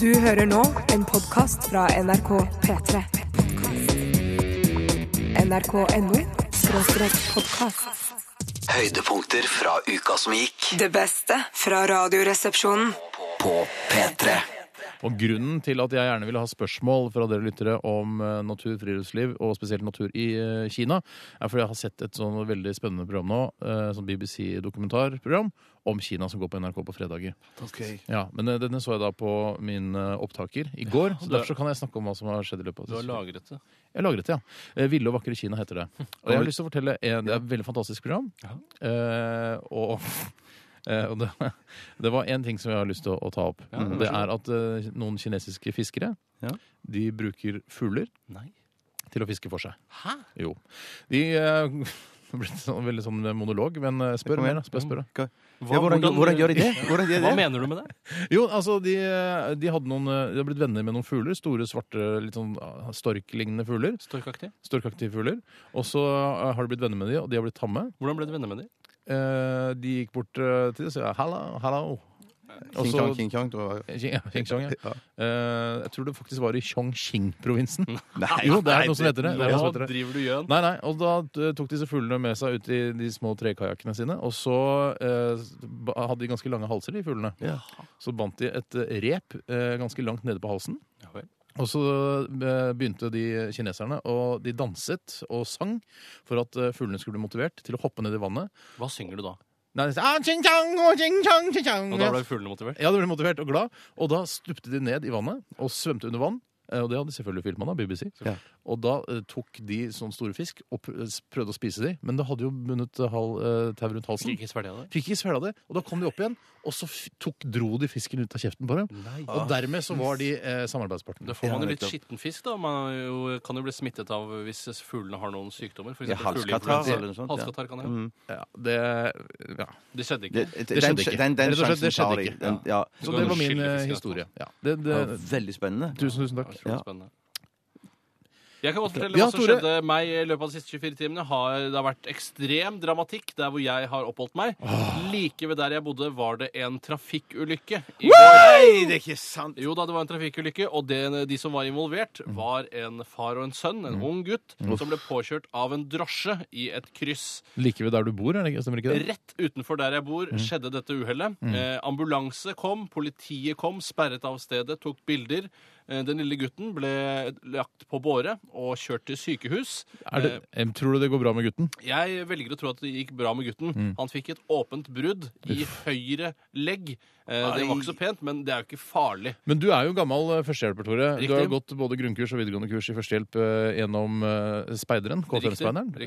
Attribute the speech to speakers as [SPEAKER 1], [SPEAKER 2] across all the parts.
[SPEAKER 1] Du hører nå en podkast fra NRK P3. NRK.no skråstrek podkast.
[SPEAKER 2] Høydepunkter fra uka som gikk
[SPEAKER 1] Det beste fra Radioresepsjonen.
[SPEAKER 2] på P3.
[SPEAKER 3] Og grunnen til at jeg gjerne ville ha spørsmål fra dere lyttere om eh, natur, friluftsliv og spesielt natur i eh, Kina, er fordi jeg har sett et sånn veldig spennende program nå, eh, sånn BBC-dokumentarprogram om Kina som går på NRK på fredager. Ja, Men eh, denne så jeg da på min eh, opptaker i går, så
[SPEAKER 4] du er-
[SPEAKER 3] derfor så kan jeg snakke om hva som har skjedd i løpet av
[SPEAKER 4] Du har lagret det. Hm.
[SPEAKER 3] Jeg lagret det, ja. Eh, Ville og vakre Kina heter det. Og jeg har lyst til å fortelle en, Det er et veldig fantastisk program. Eh, og eh, og det, det var én ting som jeg har lyst til å, å ta opp.
[SPEAKER 4] Ja, vær så
[SPEAKER 3] det er at eh, noen kinesiske fiskere
[SPEAKER 4] Ja.
[SPEAKER 3] de bruker fugler
[SPEAKER 4] Nei.
[SPEAKER 3] til å fiske for seg.
[SPEAKER 4] Hæ?
[SPEAKER 3] Jo. De eh, Det ble sånn, veldig sånn monolog, men eh, spør mer. da. Spør, spør, da.
[SPEAKER 4] Hva-
[SPEAKER 5] Ja, hvordan, hvordan, gjør de det? Hvordan gjør
[SPEAKER 4] Hva
[SPEAKER 5] de det?
[SPEAKER 4] mener du med det?
[SPEAKER 3] Jo, altså, de, de, hadde noen, eh, de har blitt venner med noen fugler. Store, svarte, litt sånn ah, storklignende fugler.
[SPEAKER 4] Storkaktig.
[SPEAKER 3] Storkaktige fugler. Og så eh, har de blitt venner med de, og de har blitt tamme.
[SPEAKER 4] Hvordan ble du venner med dem?
[SPEAKER 3] Eh, de gikk bort eh, til det og sa hallo, hallo. Og
[SPEAKER 5] King
[SPEAKER 3] så-
[SPEAKER 5] Kong, King Kong. tror jeg.
[SPEAKER 3] Xing- ja, Xingjiang, ja.
[SPEAKER 5] Ja.
[SPEAKER 3] Eh, jeg tror det faktisk var i Chongqing-provinsen. Jo, det er noe som heter det. det, er noe som heter
[SPEAKER 4] Nå
[SPEAKER 3] det.
[SPEAKER 4] driver du gjøn.
[SPEAKER 3] Nei, nei, og Da eh, tok disse fuglene med seg ut i de små trekajakkene sine. Og så eh, ba- hadde de ganske lange halser, de fuglene.
[SPEAKER 5] Ja.
[SPEAKER 3] Så bandt de et eh, rep eh, ganske langt nede på halsen.
[SPEAKER 4] Ja vel.
[SPEAKER 3] Og så eh, begynte de kineserne, og de danset og sang for at eh, fuglene skulle bli motivert til å hoppe ned i vannet.
[SPEAKER 4] Hva synger du da?
[SPEAKER 3] Nei, de sa, ah, ching chang, oh, ching chang, ching chang.
[SPEAKER 4] Og da ble fuglene motivert?
[SPEAKER 3] Ja, de ble motivert og glad. Og da stupte de ned i vannet og svømte under vann. Eh, Og det hadde selvfølgelig filma, da, BBC.
[SPEAKER 5] Ja.
[SPEAKER 3] Og da eh, tok de sånne store fisk og pr- eh, prøvde å spise de, men det hadde jo bundet eh, hal, eh, tau rundt halsen.
[SPEAKER 4] Ikke svelge det?
[SPEAKER 3] Fikk ikke svelga det, og da kom de opp igjen, og så f tok, dro de fisken ut av kjeften på dem.
[SPEAKER 4] Nei.
[SPEAKER 3] Og dermed så var de eh,
[SPEAKER 4] Da
[SPEAKER 3] samarbeidspartnere.
[SPEAKER 4] får man jo
[SPEAKER 5] Ja,
[SPEAKER 4] litt
[SPEAKER 5] nettopp.
[SPEAKER 4] skitten fisk, da. Man er jo, kan jo bli smittet av hvis fuglene har noen sykdommer. For
[SPEAKER 5] Ja,
[SPEAKER 4] eksempel
[SPEAKER 5] halskatarr
[SPEAKER 4] fugleinfluensa.
[SPEAKER 5] eller noe sånt, ja.
[SPEAKER 4] Halskatarr kan det hende.
[SPEAKER 5] Mm.
[SPEAKER 3] Ja, det, ja.
[SPEAKER 4] Det skjedde ikke.
[SPEAKER 5] Det,
[SPEAKER 3] skjedde
[SPEAKER 5] den,
[SPEAKER 3] ikke.
[SPEAKER 5] Den, den
[SPEAKER 3] Rett og slett, det
[SPEAKER 5] sjansen tar
[SPEAKER 3] skjedde
[SPEAKER 5] de.
[SPEAKER 3] ikke.
[SPEAKER 5] Den, ja.
[SPEAKER 3] Så det var min
[SPEAKER 4] Skille
[SPEAKER 3] eh,
[SPEAKER 4] fisken,
[SPEAKER 3] historie. Ja, det,
[SPEAKER 5] Det
[SPEAKER 3] det,
[SPEAKER 5] var veldig spennende.
[SPEAKER 3] tusen, tusen takk.
[SPEAKER 4] Utrolig
[SPEAKER 5] Ja.
[SPEAKER 4] spennende. Jeg kan godt fortelle
[SPEAKER 3] Ja,
[SPEAKER 4] hva som
[SPEAKER 3] Tore.
[SPEAKER 4] skjedde meg i løpet av de siste 24 timene. Har, det har vært ekstrem dramatikk der hvor jeg har oppholdt meg. Like ved der jeg bodde, var det en trafikkulykke. i går.
[SPEAKER 5] Nei, det er ikke sant!
[SPEAKER 4] Jo da, det var en trafikkulykke, og det, de som var involvert,
[SPEAKER 5] Mm.
[SPEAKER 4] var en far og en sønn, en ung gutt, som ble påkjørt av en drosje i et kryss.
[SPEAKER 3] Like ved der du bor, er det ikke- stemmer ikke det?
[SPEAKER 4] Rett utenfor der jeg
[SPEAKER 3] Mm.
[SPEAKER 4] bor, skjedde dette uhellet. Eh, ambulanse kom, politiet kom, sperret av stedet, tok bilder. Eh, den lille gutten ble lagt på båre og kjørt til sykehus.
[SPEAKER 3] Er det em, tror du det går bra med gutten?
[SPEAKER 4] Jeg velger å tro at det gikk bra med gutten.
[SPEAKER 3] Mm.
[SPEAKER 4] Han fikk et åpent brudd i høyre legg. Eh, det var ikke så pent, men det er jo ikke farlig.
[SPEAKER 3] Men du er jo gammel eh, førstehjelper, Tore. Du
[SPEAKER 4] Riktig.
[SPEAKER 3] har gått både grunnkurs og videregående kurs i førstehjelp eh, gjennom eh, speideren. K5-speideren.
[SPEAKER 4] Riktig,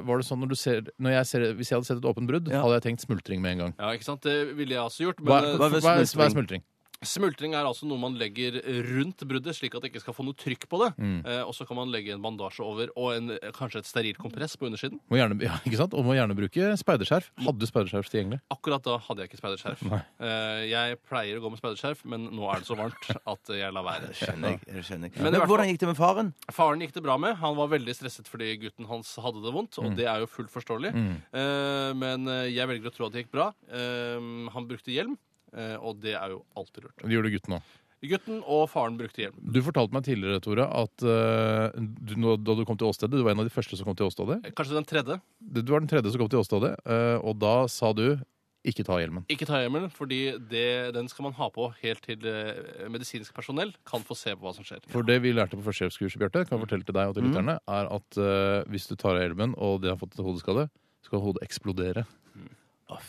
[SPEAKER 3] Eh, var det sånn når du ser, når jeg ser Hvis jeg hadde sett et åpent brudd,
[SPEAKER 5] Ja.
[SPEAKER 3] hadde jeg tenkt smultring med en gang.
[SPEAKER 4] Ja, ikke sant? Det ville jeg også gjort.
[SPEAKER 3] Hva,
[SPEAKER 4] Men eh,
[SPEAKER 3] hva,
[SPEAKER 5] hva er
[SPEAKER 3] er, hva er
[SPEAKER 5] smultring?
[SPEAKER 3] smultring?
[SPEAKER 4] smultring er altså noe man legger rundt bruddet, slik at det ikke skal få noe trykk på det.
[SPEAKER 3] Mm.
[SPEAKER 4] Eh, og så kan man legge en bandasje over og en, eh, kanskje et sterilt kompress på undersiden.
[SPEAKER 3] Må gjerne, ja, ikke sant? Og må gjerne bruke speiderskjerf. Hadde du speiderskjerf tilgjengelig?
[SPEAKER 4] Akkurat da hadde jeg ikke speiderskjerf.
[SPEAKER 3] Nei.
[SPEAKER 4] Eh, jeg pleier å gå med speiderskjerf, men nå er det så varmt at jeg lar være.
[SPEAKER 5] Skjønner jeg. det skjønner jeg.
[SPEAKER 4] Men i
[SPEAKER 5] Men,
[SPEAKER 4] hvert fall-
[SPEAKER 5] hvordan gikk det med faren?
[SPEAKER 4] Faren gikk det bra med. Han var veldig stresset fordi gutten hans hadde det vondt.
[SPEAKER 5] Mm.
[SPEAKER 4] Og det er jo fullt forståelig. Eh, men eh, jeg velger å tro at det gikk bra. Eh, han brukte hjelm, eh, og det er jo alltid lurt.
[SPEAKER 3] Det gjør du gutten òg.
[SPEAKER 4] Gutten og faren brukte hjelm.
[SPEAKER 3] Du fortalte meg tidligere, Tore, at eh, du, nå, da du kom til åstedet Du var en av de første som kom til åstedet.
[SPEAKER 4] Eh, Kanskje den tredje.
[SPEAKER 3] Du du var den tredje som kom til åstedet, eh, og da sa du 'ikke ta hjelmen'.
[SPEAKER 4] Ikke ta hjelmen, fordi det, den skal man ha på helt til eh, medisinsk personell kan få se på hva som skjer.
[SPEAKER 3] For det vi lærte på førstehjelpskurset, Bjarte, kan jeg fortelle til deg og til lytterne, er at eh, hvis du tar av hjelmen og det har fått et hodeskade, så kan hodet eksplodere.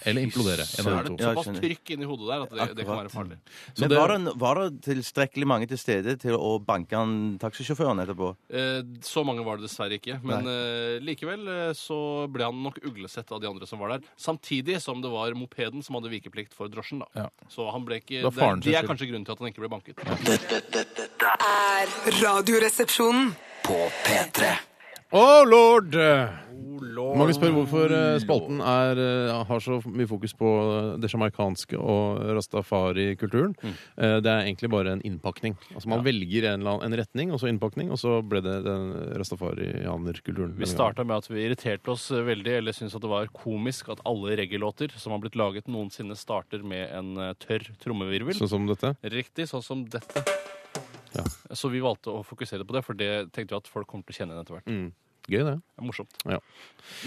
[SPEAKER 3] Eller implodere. En av
[SPEAKER 4] er
[SPEAKER 3] de
[SPEAKER 4] det
[SPEAKER 3] to.
[SPEAKER 5] Ja, jeg
[SPEAKER 4] såpass
[SPEAKER 5] skjønner.
[SPEAKER 4] trykk inni hodet der at det, det kan
[SPEAKER 5] Akkurat.
[SPEAKER 4] være farlig.
[SPEAKER 3] Så
[SPEAKER 5] Men
[SPEAKER 3] det-
[SPEAKER 5] var, det, var det tilstrekkelig mange til stede til å banke han taxisjåføren etterpå?
[SPEAKER 4] Eh, Så mange var det dessverre ikke. Men eh, likevel eh, så ble han nok uglesett av de andre som var der. Samtidig som det var mopeden som hadde vikeplikt for drosjen. da.
[SPEAKER 3] Ja.
[SPEAKER 4] Så han ble
[SPEAKER 3] Det
[SPEAKER 4] ikke,
[SPEAKER 3] var
[SPEAKER 4] det,
[SPEAKER 3] faren sin
[SPEAKER 4] det er
[SPEAKER 3] skyld.
[SPEAKER 4] kanskje grunnen til at han ikke ble banket.
[SPEAKER 1] Er Radioresepsjonen.
[SPEAKER 2] På P3.
[SPEAKER 3] Oh lord!
[SPEAKER 4] Oh, lord.
[SPEAKER 3] Mange spør hvorfor eh, spalten er, eh, har så mye fokus på eh, det sjamarkanske og rastafari-kulturen. Eh, Det er egentlig bare en innpakning. Altså Man velger en, eller annen, en retning, og så innpakning, og så ble det den rastafarianer-kulturen.
[SPEAKER 4] Vi starta med at vi irriterte oss eh, veldig, eller syntes at det var komisk at alle reggaelåter som har blitt laget noensinne, starter med en eh, tørr trommevirvel.
[SPEAKER 3] Sånn som dette.
[SPEAKER 4] Riktig, sånn som dette.
[SPEAKER 3] Ja.
[SPEAKER 4] Så vi valgte å fokusere på det, for det tenkte vi at folk kommer til å kjenne igjen etter hvert.
[SPEAKER 3] Gøy, det.
[SPEAKER 4] Det er morsomt.
[SPEAKER 3] Mm. Ja.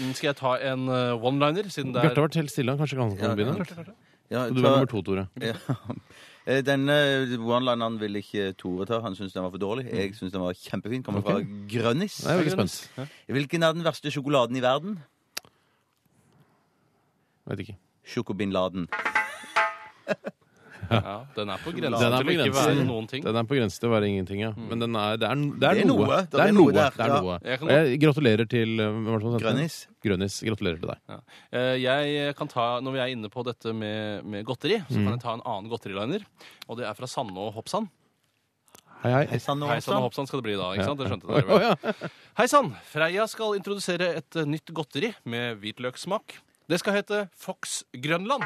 [SPEAKER 4] Mm, Skal jeg ta en eh, one-liner, siden det
[SPEAKER 3] Bjarte
[SPEAKER 4] er
[SPEAKER 3] har vært helt stille. han Kanskje han kan
[SPEAKER 5] Ja,
[SPEAKER 3] begynne?
[SPEAKER 5] Ja,
[SPEAKER 3] Du er
[SPEAKER 5] ta-
[SPEAKER 3] nummer to, Tore.
[SPEAKER 5] Ja. Eh, Denne one-lineren ville ikke eh, Tore ta. Han syntes den var for dårlig. Jeg syns den var kjempefin. Kommer fra
[SPEAKER 3] Mm. Ok.
[SPEAKER 5] Grønnis.
[SPEAKER 3] Jeg er veldig spent.
[SPEAKER 5] Hvilken er den verste sjokoladen i verden?
[SPEAKER 3] Vet ikke.
[SPEAKER 5] Sjokobin Laden.
[SPEAKER 4] ja, Den er på
[SPEAKER 3] Den
[SPEAKER 4] grensen
[SPEAKER 3] er på
[SPEAKER 4] til å ikke
[SPEAKER 3] grensen.
[SPEAKER 4] være noen ting. Mm.
[SPEAKER 3] Den er på grensen til å være ingenting, ja. Men den er, det, er, det, er
[SPEAKER 5] Det er
[SPEAKER 3] noe.
[SPEAKER 5] noe.
[SPEAKER 3] Det er noe.
[SPEAKER 5] der,
[SPEAKER 3] Det er
[SPEAKER 5] ja.
[SPEAKER 3] noe.
[SPEAKER 4] Jeg kan
[SPEAKER 3] Og jeg gratulerer til eh, hvem var det som sendte den?
[SPEAKER 5] Grønnis.
[SPEAKER 3] Grønnis. Gratulerer til deg.
[SPEAKER 4] Ja. Eh, Jeg kan ta, Når vi er inne på dette med, med godteri, så kan jeg ta en annen godteriliner. Og det er fra Sanne og Hoppsann.
[SPEAKER 3] Hei, hei.
[SPEAKER 5] Hei sann,
[SPEAKER 4] Hei sann og
[SPEAKER 5] Hoppsann.
[SPEAKER 4] hoppsann skal det bli da. ikke sant? Det skjønte dere vel. Hei sann! Freia skal introdusere et eh, nytt godteri med hvitløkssmak. Det skal hete Fox Grønland.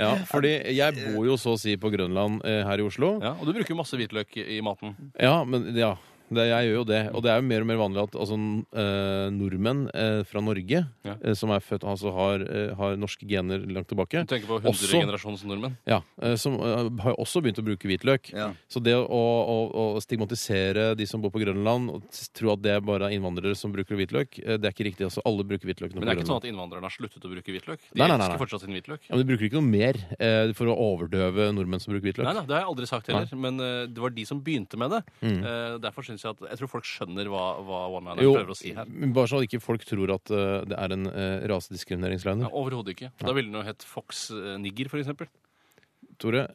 [SPEAKER 3] Ja, fordi jeg bor jo så å si på Grønland eh, her i Oslo.
[SPEAKER 4] Ja, og du bruker jo masse hvitløk i i maten.
[SPEAKER 3] Ja, men ja. Det, jeg gjør jo det. Og det er jo mer og mer vanlig at altså, eh, nordmenn eh, fra Norge,
[SPEAKER 4] Ja.
[SPEAKER 3] eh, som er født altså har, eh, har norske gener langt tilbake,
[SPEAKER 4] Du tenker på
[SPEAKER 3] Også-
[SPEAKER 4] 100-generasjonsnordmenn.
[SPEAKER 3] ja, eh, som eh, har jo også begynt å bruke hvitløk.
[SPEAKER 5] Ja.
[SPEAKER 3] Så det å, å, å stigmatisere de som bor på Grønland, og s- tro at det bare er innvandrere som bruker hvitløk, eh, det er ikke riktig. altså Alle bruker hvitløk nå
[SPEAKER 4] Men det
[SPEAKER 3] på
[SPEAKER 4] er ikke sånn
[SPEAKER 3] Grønland.
[SPEAKER 4] at innvandrerne har sluttet å bruke hvitløk? De
[SPEAKER 3] Nei, nei, nei, nei.
[SPEAKER 4] elsker fortsatt sin hvitløk.
[SPEAKER 3] Ja, men de bruker ikke noe mer eh, for å overdøve nordmenn som bruker hvitløk.
[SPEAKER 4] Nei, nei, Det har jeg aldri sagt heller, men eh, det var de som begynte med det. Eh, derfor synes Jeg at, jeg tror folk skjønner hva, hva one-lineren
[SPEAKER 3] Jo,
[SPEAKER 4] prøver å si her.
[SPEAKER 3] men bare så ikke folk tror at eh, det er en uh, rasediskrimineringsliner.
[SPEAKER 4] Ja, Overhodet ikke. Da ville den jo hett Fox eh, Nigger, for eksempel.
[SPEAKER 3] Tore,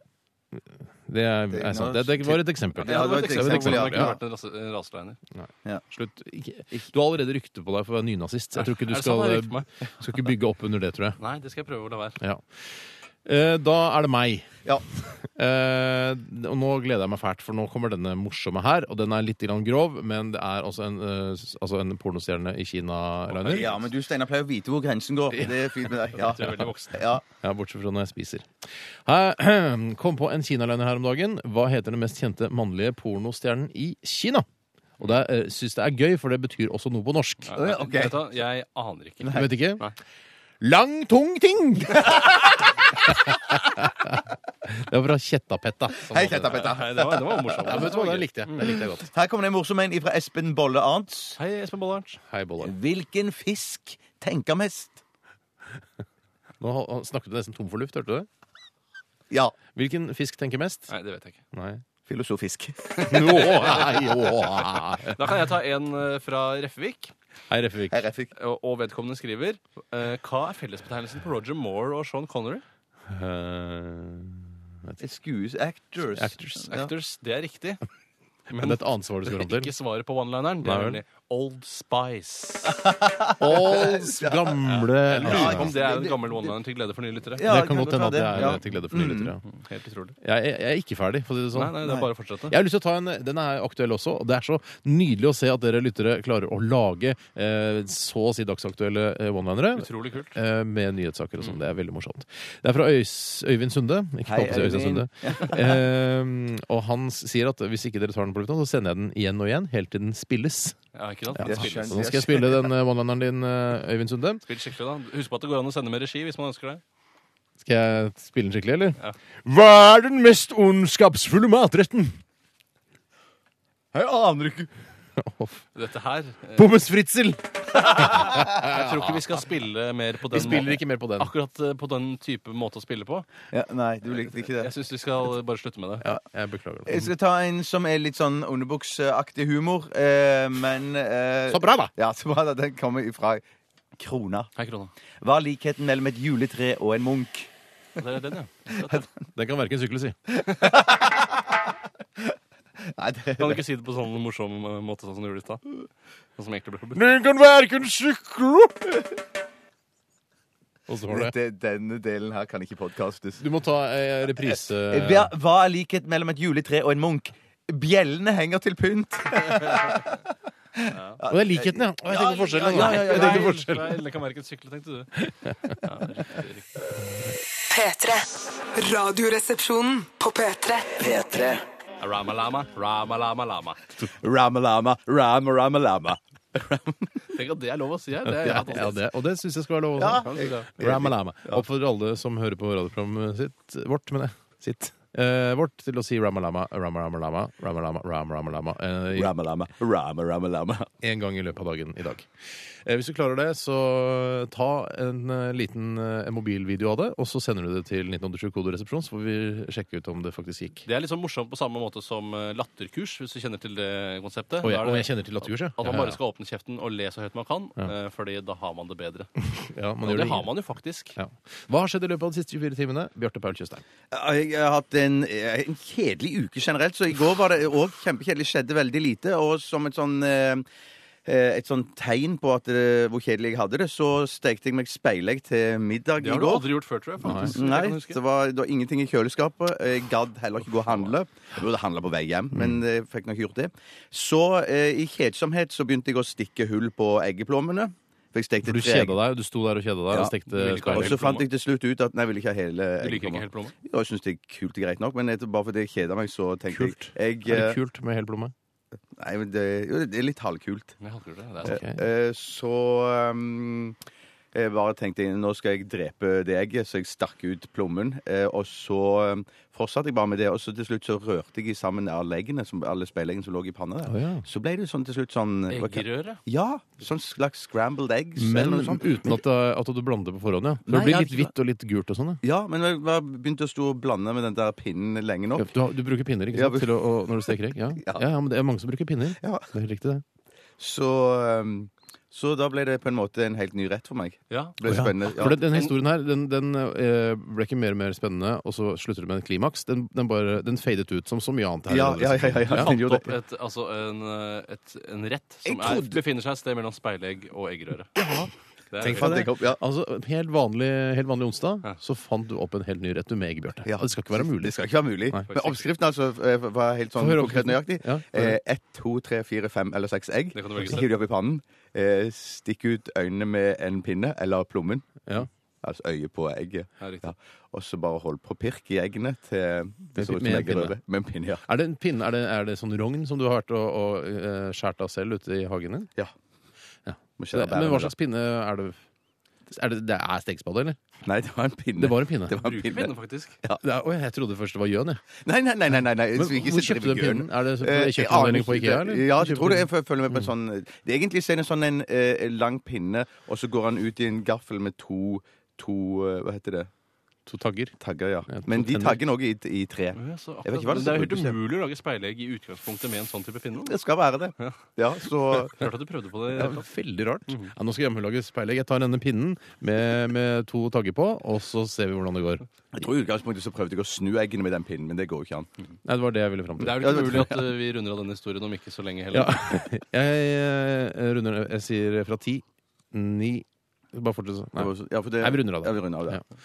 [SPEAKER 3] det er,
[SPEAKER 5] Det-
[SPEAKER 3] er sant. Det, det var et eksempel.
[SPEAKER 5] Ja, det var et eksempel,
[SPEAKER 4] hvordan det kunne
[SPEAKER 5] ja.
[SPEAKER 4] vært en rase- en raseliner.
[SPEAKER 3] Slutt. Ikke, du har allerede rykte på deg for å være nynazist. Jeg tror ikke du
[SPEAKER 4] Er det
[SPEAKER 3] skal, eh,
[SPEAKER 4] sant? Jeg likte meg.
[SPEAKER 3] skal ikke bygge opp under det, tror jeg.
[SPEAKER 4] Nei, det skal jeg prøve å la være.
[SPEAKER 3] Ja. Eh, Da er det meg.
[SPEAKER 5] Ja.
[SPEAKER 3] Eh, og nå gleder jeg meg fælt, for nå kommer denne morsomme her. Og den er litt grann grov, men det er altså en, eh, s- altså en pornostjerne i Kina, Rainer.
[SPEAKER 5] Ja, men du Steinar pleier å vite hvor grensen går. Det er fint med deg. Ja.
[SPEAKER 4] Du er veldig voksen.
[SPEAKER 5] Ja.
[SPEAKER 3] Ja, bortsett fra når jeg spiser. Her- Kom på en kinaliner her om dagen. Hva heter den mest kjente mannlige pornostjernen i Kina? Og det er, eh, synes det er gøy, for det betyr også noe på norsk.
[SPEAKER 4] Nei, nei,
[SPEAKER 5] ok.
[SPEAKER 4] vet du hva? jeg aner ikke.
[SPEAKER 3] Du vet ikke?
[SPEAKER 4] Nei.
[SPEAKER 3] Lang, tung ting! det var fra Kjettapetta. som
[SPEAKER 5] Hei,
[SPEAKER 3] hadde det.
[SPEAKER 5] Mm. Kjetta Petter.
[SPEAKER 4] Nei, det var, det var
[SPEAKER 3] Ja, vet
[SPEAKER 4] morsomt.
[SPEAKER 3] du hva, Den likte jeg. Den likte jeg godt.
[SPEAKER 5] Her kommer det en morsom en fra Espen Bolle Arntz.
[SPEAKER 4] Hei, Espen Bollarnt.
[SPEAKER 3] Hei, Bolle.
[SPEAKER 5] Hvilken fisk tenker mest?
[SPEAKER 3] Nå ha- ha- snakket du nesten tom for luft, hørte du det?
[SPEAKER 5] Ja.
[SPEAKER 3] Hvilken fisk tenker mest?
[SPEAKER 4] Nei, det vet jeg ikke.
[SPEAKER 3] Nei.
[SPEAKER 5] Filosofisk.
[SPEAKER 3] Nå, hei, å.
[SPEAKER 4] Da kan jeg ta en eh, fra Reffevik,
[SPEAKER 3] Hei, Reffevik.
[SPEAKER 5] Her er fikk.
[SPEAKER 4] og og vedkommende skriver eh, Hva er fellesbetegnelsen på Roger Moore og Sean Connery?
[SPEAKER 3] Eh,
[SPEAKER 5] Skues actors.
[SPEAKER 3] Actors.
[SPEAKER 5] Ja.
[SPEAKER 4] Actors, det er riktig.
[SPEAKER 3] Men det er et annet svar du skal fram
[SPEAKER 4] Ikke
[SPEAKER 3] til.
[SPEAKER 4] svaret på one-lineren. Det er
[SPEAKER 3] Nei vel.
[SPEAKER 4] nemlig Old Spice.
[SPEAKER 3] Åls gamle
[SPEAKER 4] Lurer på om det er en gammel one-liner til glede for nye lyttere. Mm,
[SPEAKER 5] Ja,
[SPEAKER 3] Det kan godt hende at det er
[SPEAKER 5] ja.
[SPEAKER 3] det til glede for nye lyttere.
[SPEAKER 4] Helt utrolig.
[SPEAKER 3] Jeg, jeg er ikke ferdig, for å si det
[SPEAKER 4] Nei,
[SPEAKER 3] sånn.
[SPEAKER 4] nei, det er bare å fortsette.
[SPEAKER 3] Jeg har lyst til å ta en, Den er aktuell også, og det er så nydelig å se at dere lyttere klarer å lage eh, så å si dagsaktuelle eh, one-linere.
[SPEAKER 4] Utrolig kult.
[SPEAKER 3] eh, Med nyhetssaker og sånn. Det er veldig morsomt. Det er fra Øys, Øyvind Sunde. Ikke
[SPEAKER 5] Hei,
[SPEAKER 3] Hei, Øyvind. Sunde.
[SPEAKER 5] Øyvind.
[SPEAKER 3] Eh, og han sier at hvis ikke dere tar den på lufta, så sender jeg den igjen og igjen, helt til den spilles.
[SPEAKER 4] Ja, ikke sant?
[SPEAKER 5] Ja.
[SPEAKER 4] Spill,
[SPEAKER 3] Så nå skal jeg spille den eh, one-lineren din, eh, Øyvind Sunde.
[SPEAKER 4] spill skikkelig, da. Husk på at det går an å sende med regi hvis man ønsker det.
[SPEAKER 3] Skal jeg spille den skikkelig, eller?
[SPEAKER 4] Ja.
[SPEAKER 3] Hva er den mest ondskapsfulle matretten?
[SPEAKER 5] Jeg aner ikke.
[SPEAKER 4] Dette her eh,
[SPEAKER 3] Pommes fritzel!
[SPEAKER 4] Jeg tror ikke vi skal spille mer på
[SPEAKER 3] Vi
[SPEAKER 4] den
[SPEAKER 3] spiller
[SPEAKER 4] måten.
[SPEAKER 3] ikke mer på den.
[SPEAKER 4] Akkurat eh, på den type måte å spille på.
[SPEAKER 5] Ja, nei, du likte ikke det.
[SPEAKER 4] Jeg syns vi skal bare slutte med det.
[SPEAKER 3] Ja, jeg beklager.
[SPEAKER 5] Jeg skal ta en som er litt sånn underbuksaktig humor, eh, men eh,
[SPEAKER 3] Så bra, da!
[SPEAKER 5] Ja, så bra da. Den kommer ifra Krona.
[SPEAKER 4] Hei, Krona.
[SPEAKER 5] Hva er likheten mellom et juletre og en munk?
[SPEAKER 4] Det er den, ja.
[SPEAKER 3] Den kan verken sykle, si.
[SPEAKER 5] Nei, det,
[SPEAKER 4] Kan du ikke si det på sånn morsom eh, måte sånn som du gjorde i stad? Sånn som egentlig ble forbudt.
[SPEAKER 3] Den kan verken sykle Og så var det
[SPEAKER 5] dette, denne delen her kan ikke podkastes.
[SPEAKER 3] Du må ta eh, reprise.
[SPEAKER 5] Hva, hva er likheten mellom et juletre og en munk? Bjellene henger til pynt.
[SPEAKER 3] Og det er likheten, ja. Å, Jeg tenker på forskjellen.
[SPEAKER 4] Ja,
[SPEAKER 3] da.
[SPEAKER 4] ja, ja,
[SPEAKER 3] Jeg
[SPEAKER 4] nei,
[SPEAKER 3] tenker på forskjellen.
[SPEAKER 4] nei, Lekemerket sykle, tenkte du. Ja, riktig, riktig.
[SPEAKER 2] P3. Radioresepsjonen på P3.
[SPEAKER 6] P3
[SPEAKER 4] Ramalama, ramalama, lama.
[SPEAKER 5] Ramalama, ram, ramalama.
[SPEAKER 4] Tenk at det er lov å si her. Det er,
[SPEAKER 3] Ja, ja, det, og det syns jeg skal være lov. Også.
[SPEAKER 4] Kan du si det?
[SPEAKER 3] Ramalama. Oppfordrer alle som hører på radioprogrammet sitt Vårt, mener jeg. Sitt. Eh, vårt til å si Ramalama, Ramalama, Ramalama, Ramalama eh,
[SPEAKER 5] Ramalama, ram, ramalama.
[SPEAKER 3] en gang i løpet av dagen i dag. Eh, hvis du klarer det, så ta en eh, liten eh, mobilvideo av det, og så sender du det til 1987 koderesepsjon, så får vi sjekke ut om det faktisk gikk.
[SPEAKER 4] Det er liksom morsomt på samme måte som eh, latterkurs, hvis du kjenner til det konseptet.
[SPEAKER 3] Og jeg,
[SPEAKER 4] Da er
[SPEAKER 3] og
[SPEAKER 4] det-
[SPEAKER 3] jeg kjenner til latterkurs, ja.
[SPEAKER 4] At
[SPEAKER 3] Ja,
[SPEAKER 4] man
[SPEAKER 3] ja.
[SPEAKER 4] bare skal åpne kjeften og le så høyt man kan, eh, fordi da har man det bedre.
[SPEAKER 3] Ja, man
[SPEAKER 4] Og
[SPEAKER 3] gjør
[SPEAKER 4] det
[SPEAKER 3] det.
[SPEAKER 4] har man jo faktisk.
[SPEAKER 3] Ja. Hva har skjedd i løpet av de siste 24 timene? Bjarte Paul Tjøstheim.
[SPEAKER 5] Jeg har hatt en, eh, en kjedelig uke generelt, så i går var det òg kjempekjedelig. Skjedde veldig lite. Og som et sånn eh, et sånn tegn på at, eh, hvor kjedelig jeg hadde det, så stekte jeg meg speilegg til middag
[SPEAKER 4] Det
[SPEAKER 5] i
[SPEAKER 4] har du
[SPEAKER 5] går. Mm.
[SPEAKER 4] aldri gjort før, tror jeg. faktisk. Det kan
[SPEAKER 5] Nei,
[SPEAKER 4] jeg
[SPEAKER 5] det
[SPEAKER 4] huske.
[SPEAKER 5] var, det var ingenting i kjøleskapet. Jeg gadd heller ikke gå og handle. Jeg burde handle på vei hjem,
[SPEAKER 4] Mm.
[SPEAKER 5] men jeg fikk nok gjort det. Så eh, i kjedsomhet så begynte jeg å stikke hull på eggeplommene. For jeg stekte
[SPEAKER 3] For du
[SPEAKER 5] tre egg.
[SPEAKER 3] kjeda deg, du sto der og kjeda deg
[SPEAKER 5] Ja.
[SPEAKER 3] og stekte
[SPEAKER 4] Vil ikke ha
[SPEAKER 5] Og
[SPEAKER 3] speilegg.
[SPEAKER 5] så fant jeg til slutt ut at nei, jeg vil ikke ha hele
[SPEAKER 4] Du liker ikke helt plomme?
[SPEAKER 5] Jo, jeg syns det er kult og greit nok, men etter, bare fordi jeg kjeda meg, så tenkte
[SPEAKER 3] Kult.
[SPEAKER 5] jeg,
[SPEAKER 3] Er det
[SPEAKER 5] jeg eh,
[SPEAKER 3] kult med hel plomme?
[SPEAKER 5] Nei, men det, jo, det er litt halvkult.
[SPEAKER 4] Jeg hater det. det er sant.
[SPEAKER 3] Ok.
[SPEAKER 5] Eh, så um, jeg bare tenkte jeg, nå skal jeg drepe det egget, så jeg stakk ut plommen. Eh, og så um, fortsatte jeg bare med det, og så til slutt så rørte jeg sammen alle eggene, som, alle speileggene som lå i panna der.
[SPEAKER 3] Å, ja.
[SPEAKER 5] Så ble det sånn til slutt sånn
[SPEAKER 4] Eggerøre?
[SPEAKER 5] Ja, sånn slags scrambled eggs.
[SPEAKER 3] Men
[SPEAKER 5] eller noe sånt.
[SPEAKER 3] sånn liksom, uten at, eh, at du blander det på forhånd, ja. Så
[SPEAKER 5] Nei,
[SPEAKER 3] det blir
[SPEAKER 5] jeg-
[SPEAKER 3] litt hvitt og litt gult og sånn, ja.
[SPEAKER 5] Ja, men jeg bare begynte å stå og blande med den der pinnen lenge
[SPEAKER 3] Ja,
[SPEAKER 5] nok.
[SPEAKER 3] Du, har, du bruker pinner ikke
[SPEAKER 5] Ja,
[SPEAKER 3] sant?
[SPEAKER 5] bruk-
[SPEAKER 3] Til å, å, når du steker egg? Ja. Ja.
[SPEAKER 5] Ja.
[SPEAKER 3] ja, men det er mange som bruker pinner.
[SPEAKER 5] Ja.
[SPEAKER 3] Det er helt riktig, det.
[SPEAKER 5] Så, um, så da ble det på en måte en helt ny rett for meg.
[SPEAKER 4] Ja.
[SPEAKER 5] Det ble spennende. Ja.
[SPEAKER 3] For den, denne historien her den, den eh, ble ikke mer og mer spennende, og så slutter det med en klimaks. Den, den, bare, den fadet ut som så mye annet her. i liksom. denne
[SPEAKER 5] Ja, ja, ja, ja,
[SPEAKER 3] sesongen.
[SPEAKER 5] ja.
[SPEAKER 4] Fant
[SPEAKER 5] Jo, det-
[SPEAKER 4] opp et, altså en, eh, et, en rett
[SPEAKER 5] Jeg
[SPEAKER 4] som er,
[SPEAKER 5] trodde-
[SPEAKER 4] befinner seg et sted mellom speilegg og eggerøre. Det er
[SPEAKER 3] Tenk
[SPEAKER 4] veldig-
[SPEAKER 3] på
[SPEAKER 5] Fant jeg opp, ja.
[SPEAKER 3] Altså, helt vanlig, helt vanlig onsdag
[SPEAKER 4] Ja.
[SPEAKER 3] så fant du opp en helt ny rett du med egg, Bjarte.
[SPEAKER 5] Ja.
[SPEAKER 3] Og Det skal ikke være mulig.
[SPEAKER 5] Det skal ikke være mulig.
[SPEAKER 3] Nei.
[SPEAKER 5] Men oppskriften altså eh, var helt sånn
[SPEAKER 3] Få høre
[SPEAKER 5] konkret nøyaktig.
[SPEAKER 3] oppskriften. Ja, få høre.
[SPEAKER 5] Eh, Ett, to, tre, fire, fem eller seks egg.
[SPEAKER 4] Det kan du velge selv.
[SPEAKER 5] Hiv de opp i pannen. Eh, Stikk ut øynene med en pinne eller plommen.
[SPEAKER 3] Ja.
[SPEAKER 5] Altså øyet på egget.
[SPEAKER 4] Ja, riktig.
[SPEAKER 5] Ja. Og så bare hold på pirk i eggene til det ser ut
[SPEAKER 3] med
[SPEAKER 5] som
[SPEAKER 3] en
[SPEAKER 5] eggerøre.
[SPEAKER 3] pinne.
[SPEAKER 5] Med en pinne. Ja.
[SPEAKER 3] Er det en pinne, er det, er det sånn rogn som du har vært og, og eh, skjært av selv ute i hagen din?
[SPEAKER 5] ja.
[SPEAKER 3] Ja.
[SPEAKER 5] Må
[SPEAKER 3] Det,
[SPEAKER 5] skjære
[SPEAKER 3] men hva
[SPEAKER 5] bærene,
[SPEAKER 3] slags pinne er det? Er det, det er stekespade, eller?
[SPEAKER 5] da. Nei, det var en pinne.
[SPEAKER 3] Det var en pinne.
[SPEAKER 5] Det var en
[SPEAKER 4] Bruker pinne,
[SPEAKER 5] pinne.
[SPEAKER 4] faktisk.
[SPEAKER 3] Det er, oi, jeg trodde først det var gjøn, jeg.
[SPEAKER 5] Nei, nei, nei. nei, nei, nei.
[SPEAKER 3] Men
[SPEAKER 5] så vi ikke
[SPEAKER 3] hvor
[SPEAKER 5] sitter i
[SPEAKER 3] kjøpte du den
[SPEAKER 5] bjørnen.
[SPEAKER 3] pinnen? Er det så-
[SPEAKER 5] Eh,
[SPEAKER 3] kjøpt
[SPEAKER 5] jeg aner
[SPEAKER 3] anledning på
[SPEAKER 5] ikke.
[SPEAKER 3] Ikea, eller?
[SPEAKER 5] Ja,
[SPEAKER 3] Kjøpte
[SPEAKER 5] jeg tror det.
[SPEAKER 3] du-
[SPEAKER 5] Jeg føl- følger med på en sånn Det er egentlig en sånn en eh, lang pinne, og så går han ut i en gaffel med to To eh, Hva heter det?
[SPEAKER 3] To tagger.
[SPEAKER 5] Tagger, ja.
[SPEAKER 3] Ja, to
[SPEAKER 5] Men de
[SPEAKER 3] tenner.
[SPEAKER 5] taggene òg i, i tre.
[SPEAKER 4] Ja, så akkurat-
[SPEAKER 5] Jeg vet ikke hva det
[SPEAKER 4] Men det er
[SPEAKER 5] er
[SPEAKER 4] jo
[SPEAKER 5] som
[SPEAKER 4] helt umulig å lage speilegg i utgangspunktet med en sånn type pinne.
[SPEAKER 5] Det skal være det. Ja, så
[SPEAKER 4] Klart at du prøvde på det.
[SPEAKER 3] Det er veldig rart. Ja, nå skal jeg hjemmelage speilegg. Jeg tar denne pinnen med, med to tagger på, og så ser vi hvordan det går.
[SPEAKER 5] Jeg tror i utgangspunktet så prøvde jeg å snu eggene med den pinnen, men det går jo ikke an.
[SPEAKER 3] Nei, det var det jeg ville fram til.
[SPEAKER 4] Det er vel ikke mulig at eh, vi runder av den historien om ikke så lenge heller.
[SPEAKER 3] Ja. Jeg eh, runder Jeg sier fra ti, ni Bare fortsett sånn.
[SPEAKER 5] Det
[SPEAKER 3] Nei.
[SPEAKER 5] var så- Ja, for det,
[SPEAKER 3] Nei, vi runder av det.
[SPEAKER 5] Ja, vi runder av det.
[SPEAKER 3] Ja.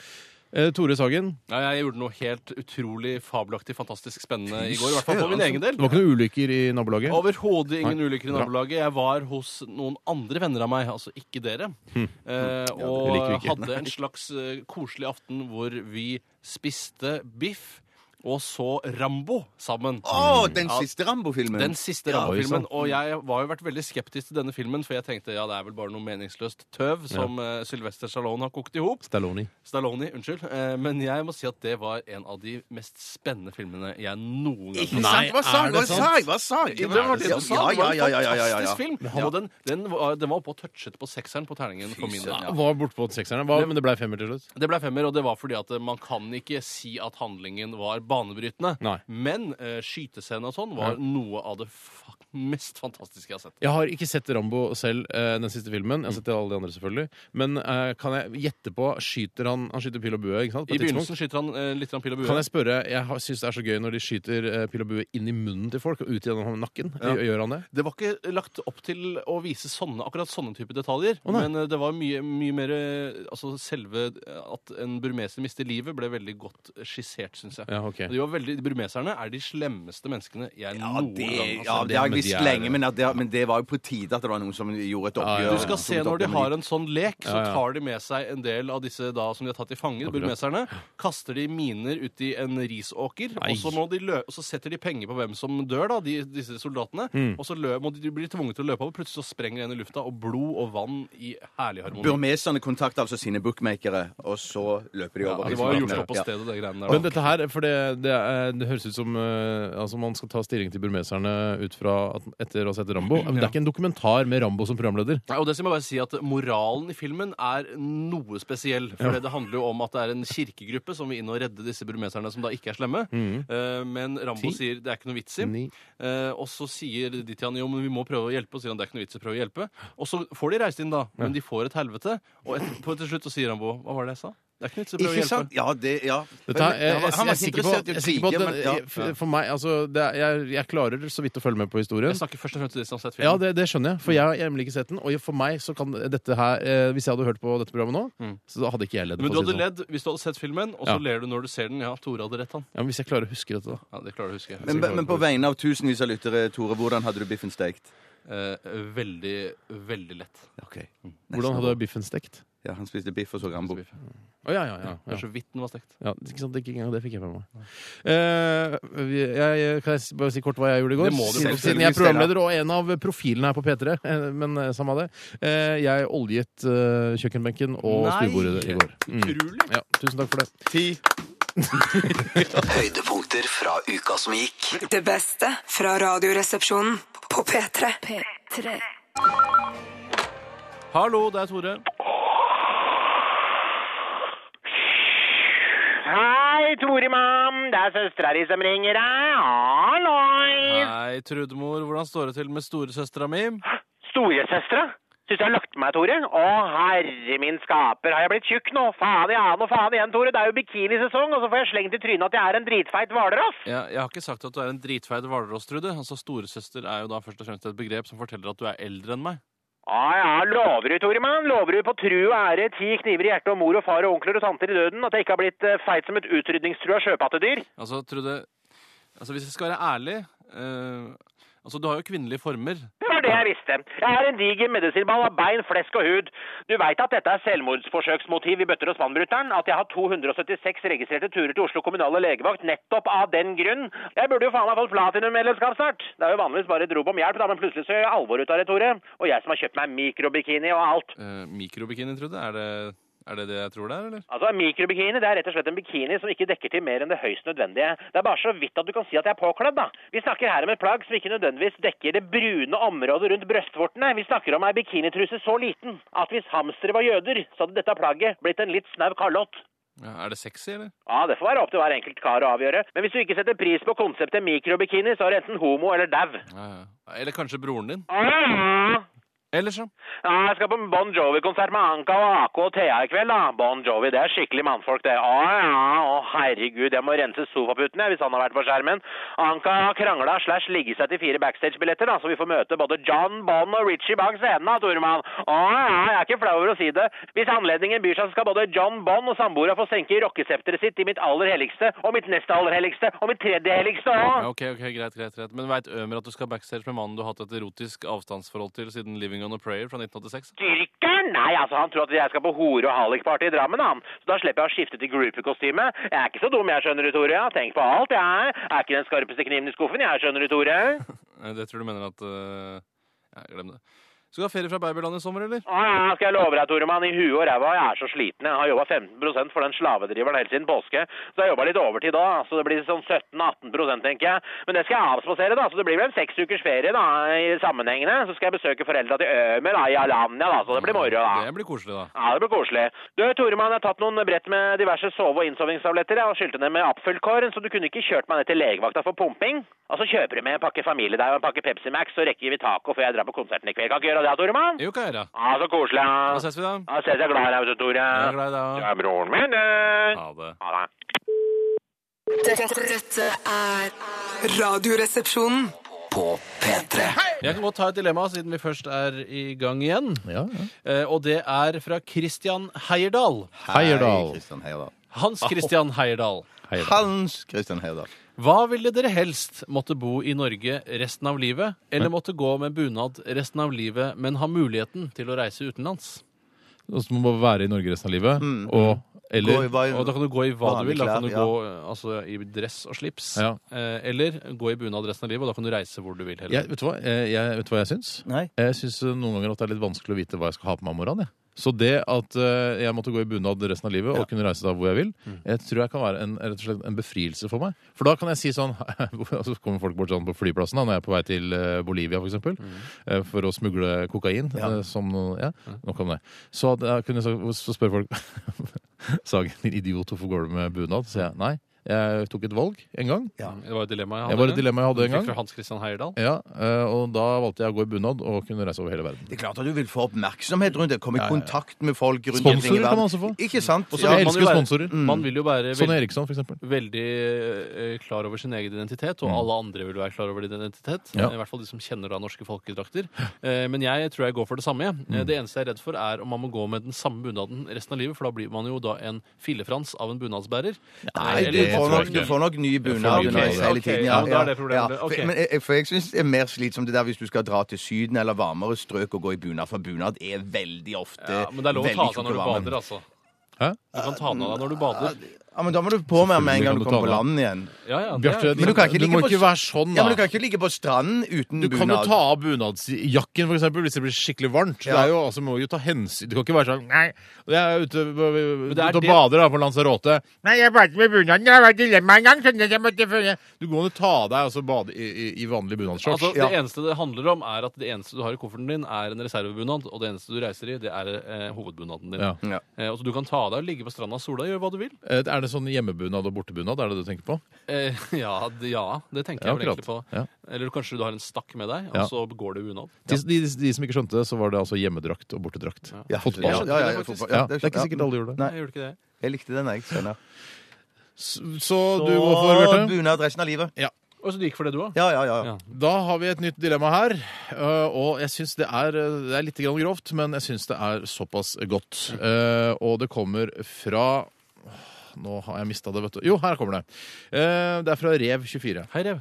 [SPEAKER 3] Eh, Tore Sagen.
[SPEAKER 4] Nei, jeg gjorde noe helt utrolig fabelaktig, fantastisk spennende i går. I hvert fall for min egen
[SPEAKER 3] Det
[SPEAKER 4] del.
[SPEAKER 3] var ikke noen ulykker i nabolaget?
[SPEAKER 4] Overhodet ingen
[SPEAKER 3] Nei,
[SPEAKER 4] ulykker i
[SPEAKER 3] bra.
[SPEAKER 4] nabolaget. Jeg var hos noen andre venner av meg, altså ikke dere, eh,
[SPEAKER 5] det
[SPEAKER 4] og
[SPEAKER 5] liker vi ikke.
[SPEAKER 4] hadde en slags eh, koselig aften hvor vi spiste biff og så Rambo sammen.
[SPEAKER 5] Å, den siste Rambo-filmen!
[SPEAKER 4] Den siste Rambo-filmen. Og jeg var jo vært veldig skeptisk til denne filmen, for jeg tenkte ja, det er vel bare noe meningsløst tøv som eh, Sylvester Stallone har kokt i hop.
[SPEAKER 3] Stallone.
[SPEAKER 4] Stallone, unnskyld. Eh, Men jeg må si at det var en av de mest spennende filmene jeg noen gang
[SPEAKER 5] Ikke sant? Hva sa jeg? Hva sa jeg? Hva sa jeg?
[SPEAKER 4] Det var det du sa. Det
[SPEAKER 5] Ja,
[SPEAKER 4] var
[SPEAKER 5] ja, ja, ja,
[SPEAKER 4] en
[SPEAKER 5] ja, ja, ja.
[SPEAKER 4] fantastisk film. Og den, den, var, den var oppe og touchet på sekseren på terningen for min del.
[SPEAKER 3] Ja,
[SPEAKER 4] Ja.
[SPEAKER 3] var bortpå sekseren, var- men det blei femmer til slutt.
[SPEAKER 4] Det ble femmer, og det var fordi at eh, man kan ikke si at handlingen var banebrytende.
[SPEAKER 3] Nei.
[SPEAKER 4] Men uh, skytescenen og sånn var
[SPEAKER 3] Ja.
[SPEAKER 4] noe av det fuck mest fantastiske jeg har sett.
[SPEAKER 3] Jeg har ikke sett Rambo selv, eh, den siste filmen. Jeg har sett alle de andre, selvfølgelig. Men eh, kan jeg gjette på Skyter han Han skyter pil og bue, ikke sant? på
[SPEAKER 4] I
[SPEAKER 3] et tidspunkt?
[SPEAKER 4] begynnelsen skyter han eh, litt grann pil og bue.
[SPEAKER 3] Kan jeg spørre, jeg syns det er så gøy når de skyter eh, pil og bue inn i munnen til folk og ut gjennom nakken. Gjør- Gjør han det?
[SPEAKER 4] Det var ikke lagt opp til å vise sånne, akkurat sånne type detaljer.
[SPEAKER 3] Å, nei.
[SPEAKER 4] men eh, det var mye, mye mer eh, Altså selve eh, at en burmeser mister livet, ble veldig godt skissert, syns jeg.
[SPEAKER 3] Ja, ok. ok.
[SPEAKER 4] Og De var veldig, Burmeserne er de slemmeste menneskene jeg
[SPEAKER 5] Ja,
[SPEAKER 4] noen
[SPEAKER 5] det,
[SPEAKER 4] gang har sett.
[SPEAKER 5] ja, det har jeg visst
[SPEAKER 3] men de er-
[SPEAKER 5] lenge, men, at det, men det var jo på tide at det var noen som gjorde et
[SPEAKER 3] Ja, ja,
[SPEAKER 5] oppgjør.
[SPEAKER 3] ja.
[SPEAKER 4] Du skal se når de har en sånn lek, så tar de med seg en del av disse da som de har tatt til fange, burmeserne. Kaster de miner ut i en risåker,
[SPEAKER 3] Nei.
[SPEAKER 4] og så, må de lø og så setter de penger på hvem som dør, da, de, disse soldatene.
[SPEAKER 3] Mm.
[SPEAKER 4] Og så lø må de, de blir tvunget til å løpe over, plutselig så sprenger en i lufta, og blod og vann i herlig harmoni.
[SPEAKER 5] Burmeserne kontakter altså sine bookmakere, og så løper de over.
[SPEAKER 4] Det var jo gjort opp på stedet, det greiene
[SPEAKER 3] Men
[SPEAKER 4] der. da.
[SPEAKER 3] dette her, for det, det, er, det høres ut som eh, altså man skal ta stilling til burmeserne ut fra at, etter å ha sett Rambo. Men Det er ikke en dokumentar med Rambo som programleder.
[SPEAKER 4] Nei, og det skal jeg bare si at Moralen i filmen er noe spesiell. For det handler jo om at det er en kirkegruppe som vil inn og redde disse burmeserne, som da ikke er slemme. Eh, Men Rambo
[SPEAKER 3] Mm. Ti.
[SPEAKER 4] sier det er ikke noe vits i. Eh, og så sier de til han jo, men vi må prøve å hjelpe. Og sier han det er ikke noe vits i å prøve å hjelpe. Og så får de reist inn, da. Men de får et helvete. Og etterpå til slutt så sier Rambo hva var det jeg sa? Det er ikke noe vits i å
[SPEAKER 5] Ikke
[SPEAKER 4] prøve å hjelpe.
[SPEAKER 5] sant? Ja, det Ja.
[SPEAKER 3] Dette her, jeg,
[SPEAKER 5] Han var
[SPEAKER 3] jeg, jeg, er
[SPEAKER 5] ikke
[SPEAKER 3] sikker på,
[SPEAKER 5] interessert i
[SPEAKER 3] jeg er sikker på at
[SPEAKER 5] krige,
[SPEAKER 3] den,
[SPEAKER 5] men- ja.
[SPEAKER 3] jeg, for- for meg, altså, det er, jeg, jeg klarer så vidt å følge med på historien.
[SPEAKER 4] Jeg snakker først og fremst til de som har sett
[SPEAKER 3] Ja,
[SPEAKER 4] filmen.
[SPEAKER 3] det, det skjønner jeg, for jeg har nemlig ikke sett den. Og for meg så kan dette her eh, Hvis jeg hadde hørt på dette programmet nå, så da hadde ikke jeg ledd.
[SPEAKER 4] men
[SPEAKER 3] for å
[SPEAKER 4] du
[SPEAKER 3] si
[SPEAKER 4] hadde
[SPEAKER 3] det sånn.
[SPEAKER 4] ledd hvis du hadde sett filmen, og så
[SPEAKER 3] Ja.
[SPEAKER 4] ler du når du ser den. Ja, Tore hadde rett, han.
[SPEAKER 3] Ja, men hvis jeg klarer å huske dette, da.
[SPEAKER 4] Ja, det klarer du å huske.
[SPEAKER 5] Men, men på vegne av tusenvis av lyttere, Tore, hvordan hadde du biffen stekt?
[SPEAKER 4] Eh, veldig, veldig lett.
[SPEAKER 5] Ok.
[SPEAKER 3] Hvordan hadde biffen stekt?
[SPEAKER 5] Ja, han spiste biff og så Rambo.
[SPEAKER 4] Biff.
[SPEAKER 3] Å ja, ja, ja,
[SPEAKER 4] Det
[SPEAKER 3] ja.
[SPEAKER 4] er så vidt den var stekt.
[SPEAKER 3] ja. Ikke sant, det, ikke engang det fikk jeg med meg. Eh, vi- jeg, kan jeg si- bare si kort hva jeg gjorde i går?
[SPEAKER 4] Det må du.
[SPEAKER 3] Siden- Siden jeg er programleder og en av profilene her på P3. eh, Men eh, samme av det. Eh, jeg oljet eh, kjøkkenbenken og
[SPEAKER 4] Nei.
[SPEAKER 3] stuebordet i går. Mm.
[SPEAKER 4] Utrolig!
[SPEAKER 3] Ja, tusen takk for det.
[SPEAKER 5] Ti.
[SPEAKER 7] Høydepunkter fra uka som gikk.
[SPEAKER 2] Det beste fra radioresepsjonen på P3.
[SPEAKER 4] Hallo, det er Tore.
[SPEAKER 8] Hei, Toremann. Det er søstera di som ringer Ah, deg. Halloi!
[SPEAKER 4] Hei, Trudemor. Hvordan står det til med storesøstera mi?
[SPEAKER 8] Storesøstera? Syns du har lagt på meg, Tore? Å, herre min skaper, har jeg blitt tjukk nå? Fader ja, nå fader igjen, Tore. Det er jo bikinisesong, og så får jeg slengt i trynet at jeg er en dritfeit hvalross.
[SPEAKER 4] Ja, jeg har ikke sagt at du er en dritfeit hvalross, Trude. Altså, Storesøster er jo da først og fremst et begrep som forteller at du er eldre enn meg.
[SPEAKER 8] Å ja, lover du, Toremann? Lover du på tru og ære, ti kniver i hjertet og mor og far og onkler og tanter i døden, at jeg ikke har blitt eh, feit som et utrydningstrua sjøpattedyr?
[SPEAKER 4] Altså, Trude Altså, Hvis jeg skal være ærlig eh, Altså, Du har jo kvinnelige former.
[SPEAKER 8] Det var det jeg visste. Jeg er en diger medisinball av bein, flesk og hud. Du veit at dette er selvmordsforsøksmotiv i bøtter og spannbruteren? At jeg har 276 registrerte turer til Oslo kommunale legevakt nettopp av den grunn? Jeg burde jo faen meg fått platinummedlemskap snart. Det er jo vanligvis bare et rop om hjelp, da, men plutselig så gjør jeg alvor ut av det, Tore. Og jeg som har kjøpt meg mikrobikini og alt.
[SPEAKER 4] Eh, Mikrobikini, Trude. Er det, er det det jeg tror det er, eller?
[SPEAKER 8] Altså, Mikrobikini det er rett og slett en bikini som ikke dekker til mer enn det høyst nødvendige. Det er bare så vidt at du kan si at jeg er påkledd, da. Vi snakker her om et plagg som ikke nødvendigvis dekker det brune området rundt brystvortene. Vi snakker om ei bikinitruse så liten at hvis hamstere var jøder, så hadde dette plagget blitt en litt snau kalott.
[SPEAKER 4] Ja, er det sexy, eller?
[SPEAKER 8] Ja, det får være opp til hver enkelt kar å avgjøre. Men hvis du ikke setter pris på konseptet mikrobikini, så er du enten homo eller dau.
[SPEAKER 4] Ja, ja. Eller kanskje broren din?
[SPEAKER 8] Ah!
[SPEAKER 4] Eller så.
[SPEAKER 8] Ja, jeg skal på Bon Jovi-konsert med Anka og AK og Thea i kveld, da. Bon Jovi, det er skikkelig mannfolk, det. Å ja, å herregud, jeg må rense sofaputen, jeg, hvis han har vært på skjermen. Anka har krangla slash ligget seg til fire backstage-billetter, da, så vi får møte både John, Bon og Richie bak scenen, da, Toremann. Å ja, jeg er ikke flau over å si det. Hvis anledningen byr seg, så skal både John, Bon og samboera få senke rockesepteret sitt i mitt aller helligste, og mitt neste aller helligste, og mitt tredje helligste òg.
[SPEAKER 4] Ja, ok, ok, greit, greit, greit. Men veit Ømer at du skal backstage med mannen du har hatt et erotisk avstandsforhold til siden 'Living on a Prayer' fra 1986?
[SPEAKER 8] Styrker? Nei, altså, han tror at jeg skal på hore- og hallikparty i Drammen, han. Så da slipper jeg å skifte til groupekostyme. Jeg er ikke så dum, jeg, skjønner du, Tore. Jeg har tenkt på alt, jeg. Jeg er ikke den skarpeste kniven i skuffen, jeg, skjønner du, Tore.
[SPEAKER 4] Eh, Det tror du mener at eh, Ja, glem det. Skal du ha ferie fra babyland i sommer, eller?
[SPEAKER 8] Å ja, skal jeg love deg, Toremann, i huet og ræva, jeg er så sliten. Jeg har jobba 15 for den slavedriveren helt siden påske, så jeg jobba litt overtid da, så det blir sånn 17-18 tenker jeg. Men det skal jeg avspasere, da, så det blir vel en seks ukers ferie da, i sammenhengende. Så skal jeg besøke foreldra til Ømer da, i Alanya, da, så det blir moro, da.
[SPEAKER 4] Det blir koselig, da.
[SPEAKER 8] Ja, det blir koselig. Du, Toremann, jeg har tatt noen brett med diverse sove- og innsovingstabletter. Jeg har skylt ned med Apfelkorn, så du kunne ikke kjørt meg ned til legevakta for pumping. Og så kjøper du med en pakke familiedeig og en pakke Pepsi Max, så rekker vi taco før jeg drar på konserten i kveld. Kan ikke gjøre det, Toremann?
[SPEAKER 4] Jo, hva gjør jeg?
[SPEAKER 8] Ja, så koselig.
[SPEAKER 4] Da
[SPEAKER 8] Ja,
[SPEAKER 4] ses vi, da.
[SPEAKER 8] ja ses jeg glad i deg, vet du, Tore.
[SPEAKER 4] Jeg er glad i
[SPEAKER 8] Du
[SPEAKER 4] deg.
[SPEAKER 8] er broren min, du.
[SPEAKER 4] Ha det.
[SPEAKER 8] Ha det.
[SPEAKER 2] Dette, dette er Radioresepsjonen.
[SPEAKER 7] På P3.
[SPEAKER 4] Jeg kan godt ta et dilemma, siden vi først er i gang igjen.
[SPEAKER 3] Ja, ja.
[SPEAKER 4] Eh, Og det er fra Christian Heierdal.
[SPEAKER 3] Heierdal.
[SPEAKER 5] Kristian Heierdal.
[SPEAKER 4] Hans Christian Heierdal.
[SPEAKER 3] Hei,
[SPEAKER 5] Hans Christian Heyerdahl.
[SPEAKER 4] Hva ville dere helst? Måtte bo i Norge resten av livet? Eller måtte gå med bunad resten av livet, men ha muligheten til å reise utenlands?
[SPEAKER 3] og så må man bare være i Norge resten av livet. Og,
[SPEAKER 5] Gå
[SPEAKER 3] eller
[SPEAKER 5] i hva-
[SPEAKER 4] Og da kan du Mm. gå i hva du vil. Da kan du
[SPEAKER 5] Vanlige klær,
[SPEAKER 4] gå eh, altså, i dress og slips.
[SPEAKER 3] Ja.
[SPEAKER 4] Eh, Eller gå i bunad resten av livet, og da kan du reise hvor du vil. hele
[SPEAKER 3] jeg, Vet du hva Eh, jeg, vet du hva jeg syns?
[SPEAKER 5] Nei.
[SPEAKER 3] Jeg syns eh, noen ganger at det er litt vanskelig å vite hva jeg skal ha på meg om morgenen. Jeg. Så det at eh, jeg måtte gå i bunad resten av livet og kunne reise da hvor jeg vil, jeg tror jeg kan være en, rett og slett en befrielse for meg. For da kan jeg si sånn Så kommer folk bort sånn på flyplassen da, når jeg er på vei til eh, Bolivia, for eksempel, eh, for å smugle kokain. eh, Som noe, ja, nok om det. Så, at jeg kunne, sagt- så spør folk Sagen, din idiot, hvorfor går du med bunad? Så sier jeg nei. Jeg tok et valg en gang.
[SPEAKER 4] Det var et dilemma jeg
[SPEAKER 3] Det
[SPEAKER 4] hadde.
[SPEAKER 3] var et dilemma jeg hadde en
[SPEAKER 4] Fikk
[SPEAKER 3] gang.
[SPEAKER 4] Fra Hans Christian Heierdal.
[SPEAKER 3] Ja, eh, og da valgte jeg å gå i bunad og kunne reise over hele verden.
[SPEAKER 5] Det er klart at du vil få oppmerksomhet rundt det. Komme i kontakt med folk. rundt
[SPEAKER 3] Sponsorer
[SPEAKER 5] omkring
[SPEAKER 3] kan
[SPEAKER 5] i verden.
[SPEAKER 3] man også få.
[SPEAKER 5] Ikke sant?
[SPEAKER 4] Og så
[SPEAKER 3] jeg
[SPEAKER 5] Ja,
[SPEAKER 4] vil man jo
[SPEAKER 3] elsker
[SPEAKER 4] være- Mm.
[SPEAKER 3] sponsorer.
[SPEAKER 4] Man vil jo være
[SPEAKER 3] Sånn
[SPEAKER 4] veldig,
[SPEAKER 3] Eriksson, for eksempel.
[SPEAKER 4] veldig eh, klar over sin egen identitet, og alle andre vil være klar over din identitet.
[SPEAKER 3] Mm. Ja.
[SPEAKER 4] I hvert fall de som kjenner da norske folkedrakter. Eh, Men jeg tror jeg går for det samme.
[SPEAKER 3] Mm.
[SPEAKER 4] jeg. Eh, Det eneste jeg er redd for, er om man må gå med den samme bunaden resten av livet, for da blir man jo da en fillefrans av en bunadsbærer. Eh,
[SPEAKER 5] Nei,
[SPEAKER 4] Eller-
[SPEAKER 5] du
[SPEAKER 3] tror jeg
[SPEAKER 5] får nok,
[SPEAKER 3] ikke.
[SPEAKER 5] du får nok ny bunad
[SPEAKER 3] Ok,
[SPEAKER 5] underveis hele
[SPEAKER 4] ok,
[SPEAKER 5] tiden.
[SPEAKER 4] ja, da er det problemet.
[SPEAKER 5] For-
[SPEAKER 4] Ok.
[SPEAKER 5] Men jeg, for jeg syns det er mer slitsomt det der hvis du skal dra til Syden eller varmere strøk og gå i bunad, for bunad er veldig ofte
[SPEAKER 4] Ja, men det er lov å
[SPEAKER 5] veldig
[SPEAKER 4] ta av seg når du
[SPEAKER 5] tjukk og varm.
[SPEAKER 4] bader, altså.
[SPEAKER 3] Hæ?
[SPEAKER 4] Du kan ta den av deg når du bader.
[SPEAKER 5] Ja, men da må du på med med en gang
[SPEAKER 3] Selvfølgelig kan du
[SPEAKER 5] du kommer på
[SPEAKER 3] ta den
[SPEAKER 5] land igjen.
[SPEAKER 4] Ja, ja, det
[SPEAKER 3] Bjarte,
[SPEAKER 4] er-
[SPEAKER 3] du,
[SPEAKER 5] Men du kan ikke
[SPEAKER 3] du
[SPEAKER 5] ligge
[SPEAKER 3] må
[SPEAKER 5] på-
[SPEAKER 3] ikke være sånn,
[SPEAKER 5] Ja,
[SPEAKER 3] da.
[SPEAKER 5] men du kan ikke ligge på stranden uten
[SPEAKER 3] Du kan jo
[SPEAKER 5] bunad.
[SPEAKER 3] ta av bunadsjakken for eksempel, hvis det blir skikkelig varmt.
[SPEAKER 5] Ja.
[SPEAKER 3] Det er jo, altså, må jo ta hensyn. Du kan ikke være sånn Nei, jeg er ute,
[SPEAKER 4] det er
[SPEAKER 3] ute og
[SPEAKER 4] det-
[SPEAKER 3] bader da, på Lanzarote. Nei, jeg badet med bunaden. Det var et dilemma en gang. skjønner du, jeg måtte følge». Du kan jo ta av deg og så bade i, i, i vanlig bunadsshorts.
[SPEAKER 4] Altså, Det eneste det handler om, er at det eneste du har i kofferten din, er en reservebunad, og det eneste du reiser i, det er eh, hovedbunaden din.
[SPEAKER 3] Ja.
[SPEAKER 5] Ja.
[SPEAKER 4] Eh, og så Du kan ta av deg og ligge på stranda sola, gjøre hva du vil.
[SPEAKER 3] Eh, Er det sånn hjemmebunad og bortebunad? Er det det du tenker på?
[SPEAKER 4] Eh, ja, det, ja, det tenker
[SPEAKER 3] Ja,
[SPEAKER 4] jeg vel egentlig på.
[SPEAKER 3] akkurat. Ja.
[SPEAKER 4] Eller kanskje du har en stakk med deg, og
[SPEAKER 3] Ja.
[SPEAKER 4] så går det bunad.
[SPEAKER 3] De, de, de som ikke skjønte det, så var det altså hjemmedrakt og bortedrakt.
[SPEAKER 5] Ja,
[SPEAKER 3] Fotball.
[SPEAKER 5] Ja, ja, ja, fotball. Ja,
[SPEAKER 3] Ja, det er ikke sikkert alle gjorde det.
[SPEAKER 5] Nei,
[SPEAKER 4] Jeg gjorde ikke det.
[SPEAKER 5] jeg likte den, jeg. Skjønner.
[SPEAKER 3] Så, så du går for, Bjarte?
[SPEAKER 5] bunad resten av livet.
[SPEAKER 4] Og så du gikk for det, du òg?
[SPEAKER 5] Ja, ja, ja.
[SPEAKER 4] Ja.
[SPEAKER 3] Da har vi et nytt dilemma her. eh, Og jeg syns det er, eh, det er litt grann grovt, men jeg syns det er såpass godt. Eh, Og det kommer fra Åh, Nå har jeg mista det, vet du. Jo, her kommer det. Eh, Det er fra Rev24.
[SPEAKER 4] Hei, Rev.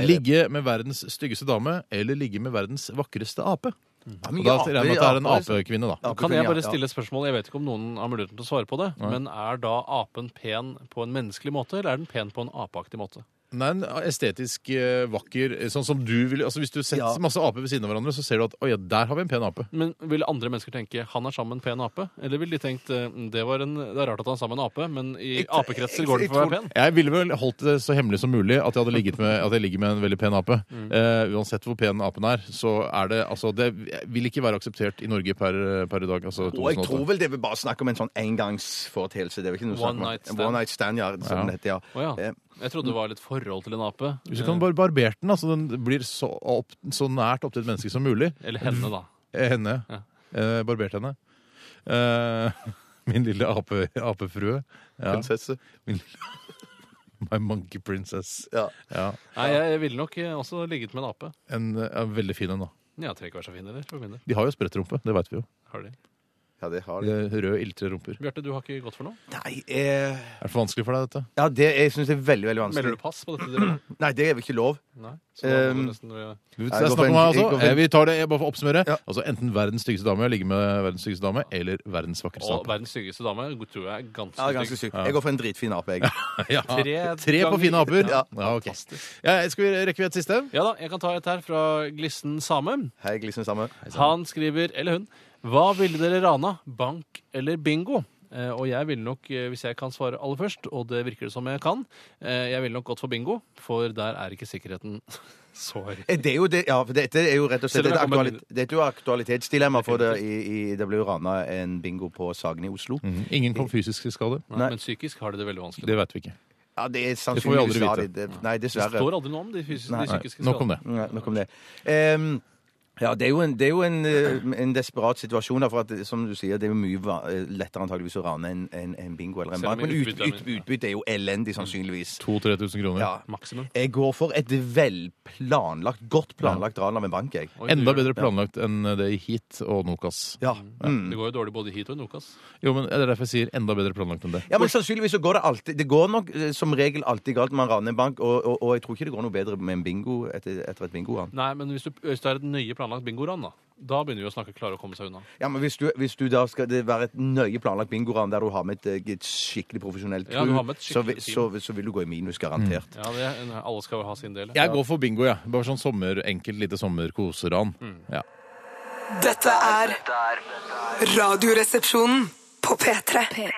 [SPEAKER 3] Ligge med verdens styggeste dame eller ligge med verdens vakreste ape? Og
[SPEAKER 5] mye
[SPEAKER 3] da regner jeg med at det er en
[SPEAKER 5] aper, altså.
[SPEAKER 3] apekvinne, da.
[SPEAKER 5] Apekvinne,
[SPEAKER 4] Kan jeg bare
[SPEAKER 5] ja.
[SPEAKER 4] stille et spørsmål? Jeg vet ikke om noen har muligheten til å svare på det. Men er da apen pen på en menneskelig måte, eller er den pen på en apeaktig måte?
[SPEAKER 3] Nei, en estetisk eh, vakker eh, Sånn som du vil Altså Hvis du setter
[SPEAKER 5] Ja.
[SPEAKER 3] masse aper ved siden av hverandre, så ser du at Å ja, der har vi en pen ape.
[SPEAKER 4] Men Vil andre mennesker tenke 'han er sammen med en pen ape'? Eller vil de tenkt eh, det, var en, 'det er rart at han er sammen med en ape', men i
[SPEAKER 5] Jeg-
[SPEAKER 4] apekretser
[SPEAKER 5] jeg-
[SPEAKER 4] går det
[SPEAKER 5] jeg
[SPEAKER 4] for å være
[SPEAKER 5] tror-
[SPEAKER 4] pen?
[SPEAKER 3] Jeg ville vel holdt det så hemmelig som mulig at jeg hadde ligget med, at jeg ligger med en veldig pen ape.
[SPEAKER 5] Mm.
[SPEAKER 3] Eh, uansett hvor pen apen er, så er det altså Det vil ikke være akseptert i Norge per, per i dag. Altså
[SPEAKER 5] Og jeg
[SPEAKER 3] 2008.
[SPEAKER 5] tror vel det vil bare snakke om en sånn engangsforeteelse. Det er vel ikke noe snakk
[SPEAKER 4] One
[SPEAKER 5] om-
[SPEAKER 4] night
[SPEAKER 5] en
[SPEAKER 4] stand.
[SPEAKER 5] One night stand, ja. Som
[SPEAKER 3] Ja.
[SPEAKER 5] det heter, ja.
[SPEAKER 4] Å ja. Ah.
[SPEAKER 5] Eh,
[SPEAKER 4] Jeg trodde det var litt forhold til en ape.
[SPEAKER 3] Hvis du kan bare barbere den, da, så den blir så, opp, så nært opp til et menneske som mulig.
[SPEAKER 4] Eller henne, da.
[SPEAKER 3] Eh, Henne.
[SPEAKER 4] Ja.
[SPEAKER 3] Eh, barbert henne. Eh, min lille ape, apefrue. Ja.
[SPEAKER 5] Prinsesse.
[SPEAKER 3] My monkey princess.
[SPEAKER 5] Ja.
[SPEAKER 3] Ja.
[SPEAKER 4] Nei, jeg, jeg ville nok eh, også ligget med en ape.
[SPEAKER 3] En, eh, veldig fin en, da.
[SPEAKER 4] Ja, trenger ikke være så fin heller, for min del.
[SPEAKER 3] De har jo sprettrumpe, det veit vi jo.
[SPEAKER 4] Har de.
[SPEAKER 5] ja, det har
[SPEAKER 3] Eh,
[SPEAKER 5] de.
[SPEAKER 3] Rød, iltre rumper.
[SPEAKER 4] Bjarte, du har ikke gått for noe?
[SPEAKER 5] Nei, eh,
[SPEAKER 3] Er det for vanskelig for deg, dette?
[SPEAKER 5] ja, det jeg syns jeg er veldig veldig
[SPEAKER 4] Melder du
[SPEAKER 5] vanskelig.
[SPEAKER 4] pass på dette? dere?
[SPEAKER 5] Nei, det er vel ikke lov.
[SPEAKER 4] Nei? Så da må du
[SPEAKER 5] Um,
[SPEAKER 4] nesten...
[SPEAKER 3] Du, jeg
[SPEAKER 5] Jeg
[SPEAKER 3] snakker
[SPEAKER 5] går
[SPEAKER 3] om
[SPEAKER 5] for en-
[SPEAKER 3] meg
[SPEAKER 5] jeg
[SPEAKER 3] altså.
[SPEAKER 5] går for en-
[SPEAKER 3] Eh, Vi tar det jeg bare for å oppsummere.
[SPEAKER 5] Ja.
[SPEAKER 3] Altså Enten verdens styggeste dame, ligge med verdens styggeste dame, eller verdens vakreste
[SPEAKER 4] Og
[SPEAKER 3] ape.
[SPEAKER 4] verdens styggeste dame tror jeg er ganske,
[SPEAKER 5] Ja, ganske sykt. Jeg går for en dritfin ape, jeg.
[SPEAKER 3] Ja. Tre,
[SPEAKER 4] Tre
[SPEAKER 3] på
[SPEAKER 4] ganger-
[SPEAKER 3] fine aper. Ja.
[SPEAKER 5] Ja.
[SPEAKER 3] ok. ja, skal vi rekke vi et siste?
[SPEAKER 4] Ja da, jeg kan ta et her fra Glissen Same.
[SPEAKER 5] Hei, liksom samme.
[SPEAKER 4] Han skriver, eller hun, hva ville dere rana? Bank eller bingo? Eh, og jeg ville nok, eh, hvis jeg kan svare aller først, og det virker det som jeg kan, eh, jeg ville nok gått for bingo, for der er ikke sikkerheten så høy.
[SPEAKER 5] Eh, Det er jo det, ja, for dette er jo rett og slett
[SPEAKER 4] Selv om
[SPEAKER 5] et,
[SPEAKER 4] jeg kommer-
[SPEAKER 5] aktualit, det er jo aktualitetsdilemma. For det, i, i, det ble jo rana en bingo på Sagen i Oslo.
[SPEAKER 3] Mm. Ingen kom fysisk til skade.
[SPEAKER 4] Nei,
[SPEAKER 5] Nei.
[SPEAKER 4] Men psykisk har de det veldig vanskelig.
[SPEAKER 3] Det vet vi ikke.
[SPEAKER 5] Ja, det er
[SPEAKER 3] får vi aldri
[SPEAKER 5] sannsynligvis
[SPEAKER 3] vite.
[SPEAKER 5] stadig. Det- Nei,
[SPEAKER 4] Det
[SPEAKER 5] dessverre.
[SPEAKER 4] står aldri noe om de, fysiske,
[SPEAKER 5] Nei,
[SPEAKER 4] de
[SPEAKER 3] Nei,
[SPEAKER 4] psykiske
[SPEAKER 3] nok om det.
[SPEAKER 5] Nei, nok om det. Ehm, Ja, det er jo en, det er jo en, eh, en desperat situasjon, da, for at, eh, som du sier, det er jo mye va- eh, lettere antageligvis å rane en, en, en bingo eller en
[SPEAKER 4] Selv om
[SPEAKER 5] bank. Men ut,
[SPEAKER 4] utbyttet er Mm.
[SPEAKER 5] ut,
[SPEAKER 4] mindre.
[SPEAKER 5] utbytte er jo elendig, sannsynligvis.
[SPEAKER 8] 2000-3000 kroner.
[SPEAKER 5] Ja.
[SPEAKER 4] Maksimum.
[SPEAKER 5] Jeg går for et velplanlagt, godt planlagt ran av en bank, jeg.
[SPEAKER 4] Oi,
[SPEAKER 8] Enda
[SPEAKER 4] det gjør-
[SPEAKER 8] bedre planlagt enn det i Heat og Nokas.
[SPEAKER 5] Ja. Mm.
[SPEAKER 4] Det går jo dårlig både hit og i Nokas.
[SPEAKER 8] Jo, men Det er derfor jeg sier enda bedre planlagt enn det.
[SPEAKER 5] Ja, men sannsynligvis så går det alltid Det går nok eh, som regel alltid galt når man raner en bank, og, og, og jeg tror ikke det går noe bedre med en bingo etter, etter et bingoran.
[SPEAKER 4] Nei, men hvis, du, hvis det er et nøye planlagt bingoran, da, da begynner vi å snakke klare å komme seg unna.
[SPEAKER 5] Ja, men hvis du, hvis du da skal det være et nøye planlagt bingoran der du har med et, eh, et skikkelig profesjonelt
[SPEAKER 4] Ja, du har med et
[SPEAKER 5] så, vi-
[SPEAKER 4] skikkelig team.
[SPEAKER 5] så, så vil du gå i minus, garantert.
[SPEAKER 4] Ja, det, Alle skal jo ha sin del.
[SPEAKER 8] Jeg går for bingo, jeg. Bare sånn sommer, enkelt lite sommerkoseran.
[SPEAKER 4] Mm.
[SPEAKER 8] Ja.
[SPEAKER 2] Dette er Radioresepsjonen på P3.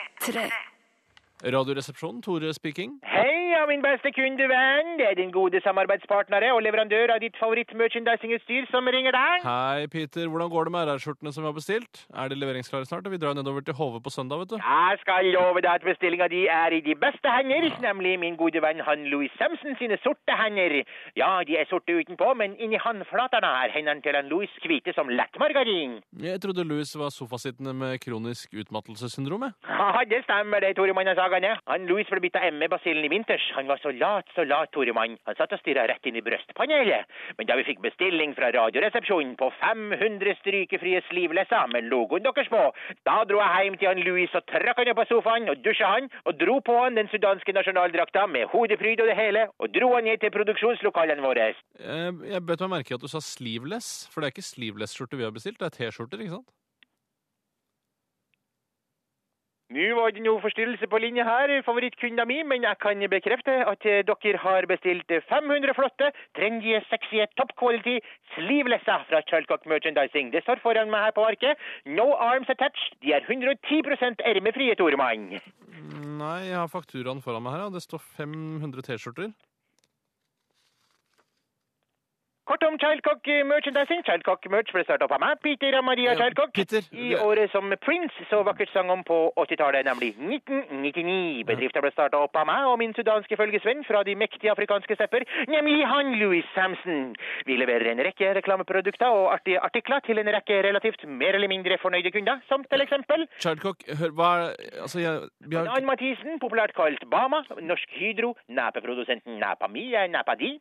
[SPEAKER 4] Radioresepsjonen, Tore speaking.
[SPEAKER 9] Hei, ja, min beste kundevenn. Det er din gode samarbeidspartnere og leverandør av ditt favoritt-merchandisingutstyr som ringer deg.
[SPEAKER 4] Hei, Peter. Hvordan går det med RR-skjortene som vi har bestilt? Er de leveringsklare snart? Vi drar jo nedover til Hove på søndag, vet du.
[SPEAKER 9] Jeg skal love deg at bestillinga di er i de beste hender, nemlig min gode venn han Louis Samson sine sorte hender. Ja, de er sorte utenpå, men inni håndflatene er hendene til han Louis hvite som lettmargarin.
[SPEAKER 4] Jeg trodde Louis var sofasittende med kronisk utmattelsessyndrom, jeg.
[SPEAKER 9] Ja, det stemmer det, Toremann han sagene. Han Louis ble bitt av ME-basillen E i vinters. Han var så lat, så lat, Toremann. Han satt og stirret rett inn i brøstpanelet. Men da vi fikk bestilling fra radioresepsjonen på 500 strykefrie slivlesser med logoen deres på, da dro jeg hjem til han Louis og trakk han opp av sofaen og dusja han, og dro på han den sudanske nasjonaldrakta med hodefryd og det hele, og dro han ned til produksjonslokalene våre.
[SPEAKER 4] Eh, Jeg bet meg merke i at du sa sleeveless, for det er ikke sleeveless-skjorte vi har bestilt, det er T-skjorter, ikke sant?
[SPEAKER 9] Nå var det noe forstyrrelse på linje her, favorittkunden min, men jeg kan bekrefte at eh, dere har bestilt 500 flotte, trendy, sexy, top quality sleevelesser fra Charlcock Merchandising. Det står foran meg her på arket. No arms attached. De er 110 ermefrie, Toremann.
[SPEAKER 4] Nei, jeg har fakturaen foran meg her, ja. Det står 500 T-skjorter.
[SPEAKER 9] Kort om Childcock Merchandising. Childcock Merch ble startet opp av meg, Peter og Maria
[SPEAKER 4] Ja,
[SPEAKER 9] Childcock,
[SPEAKER 4] Peter.
[SPEAKER 9] i året som Prince så vakkert sang om på 80-tallet, nemlig 1999. Bedriften ble startet opp av meg og min sudanske følgesvenn fra de mektige afrikanske stepper, nemlig han Louis Samson. Vi leverer en rekke reklameprodukter og artige artikler til en rekke relativt mer eller mindre fornøyde kunder, som til eksempel
[SPEAKER 4] Childcock, hør, hva er Altså, jeg vi har,
[SPEAKER 9] Ann Mathisen, populært kalt Bama, Norsk Hydro, nepeprodusenten Nepamia, Nepadi,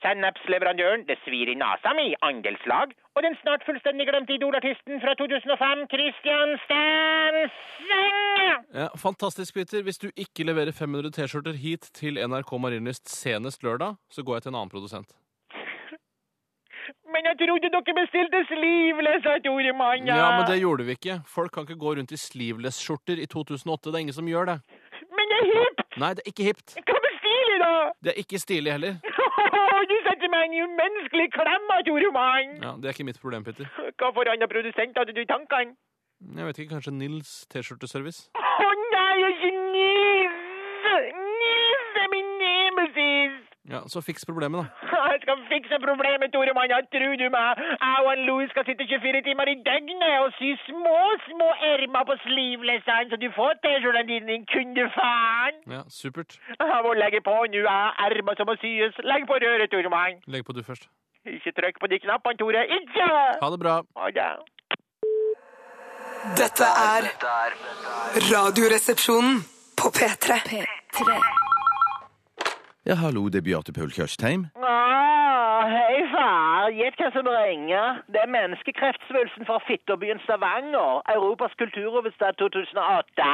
[SPEAKER 9] sennepsleverandøren Det svir i nasa mi, andelslag, og den snart fullstendig glemte idolartisten fra 2005, Christian Stensen!
[SPEAKER 4] ja, fantastisk, Peter. Hvis du ikke leverer 500 T-skjorter hit til NRK Marienlyst senest lørdag, så går jeg til en annen produsent.
[SPEAKER 9] Men jeg trodde dere bestilte sleeveless, sa Tore Mann.
[SPEAKER 4] Ja, men det gjorde vi ikke. Folk kan ikke gå rundt i sleeveless-skjorter i 2008. Det er ingen som gjør det.
[SPEAKER 9] Men det er hipt!
[SPEAKER 4] Nei, det er ikke hipt.
[SPEAKER 9] Hva bestiller jeg da?
[SPEAKER 4] Det er ikke stilig heller.
[SPEAKER 9] du setter meg i en umenneskelig klemma, Tore Mann.
[SPEAKER 4] Ja, Det er ikke mitt problem, Peter.
[SPEAKER 9] Hva for annen produsent hadde du i tankene?
[SPEAKER 4] Jeg vet ikke, kanskje Nils T-skjorteservice?
[SPEAKER 9] Å nei, ikke nise! Nise min nemesis!
[SPEAKER 4] Ja, så fiks problemet, da.
[SPEAKER 9] Jeg skal fikse problemet, Tore Mann. Jeg tror du meg. Jeg og han Louis skal sitte 24 timer i døgnet og sy små, små ermer på sleevelessene, så du får T-skjortene dine, din kundefaen.
[SPEAKER 4] Ja, Supert.
[SPEAKER 9] Jeg må legge på nå. Jeg har ermer som må syes. Legg på røret, Tore Mann.
[SPEAKER 4] Legg på du først.
[SPEAKER 9] Ikke trykk på de knappene, Tore. Ikke!
[SPEAKER 4] Ha det bra.
[SPEAKER 9] Ha det.
[SPEAKER 2] Dette er Radioresepsjonen på P3.
[SPEAKER 5] Mm. Ja, hallo, det er Bjarte Paul Tjøstheim.
[SPEAKER 9] Ah, hei far, gjett hvem som ringer. Det er menneskekreftsvulsten fra Fitterbyen Stavanger. Europas kulturhovedstad 2008.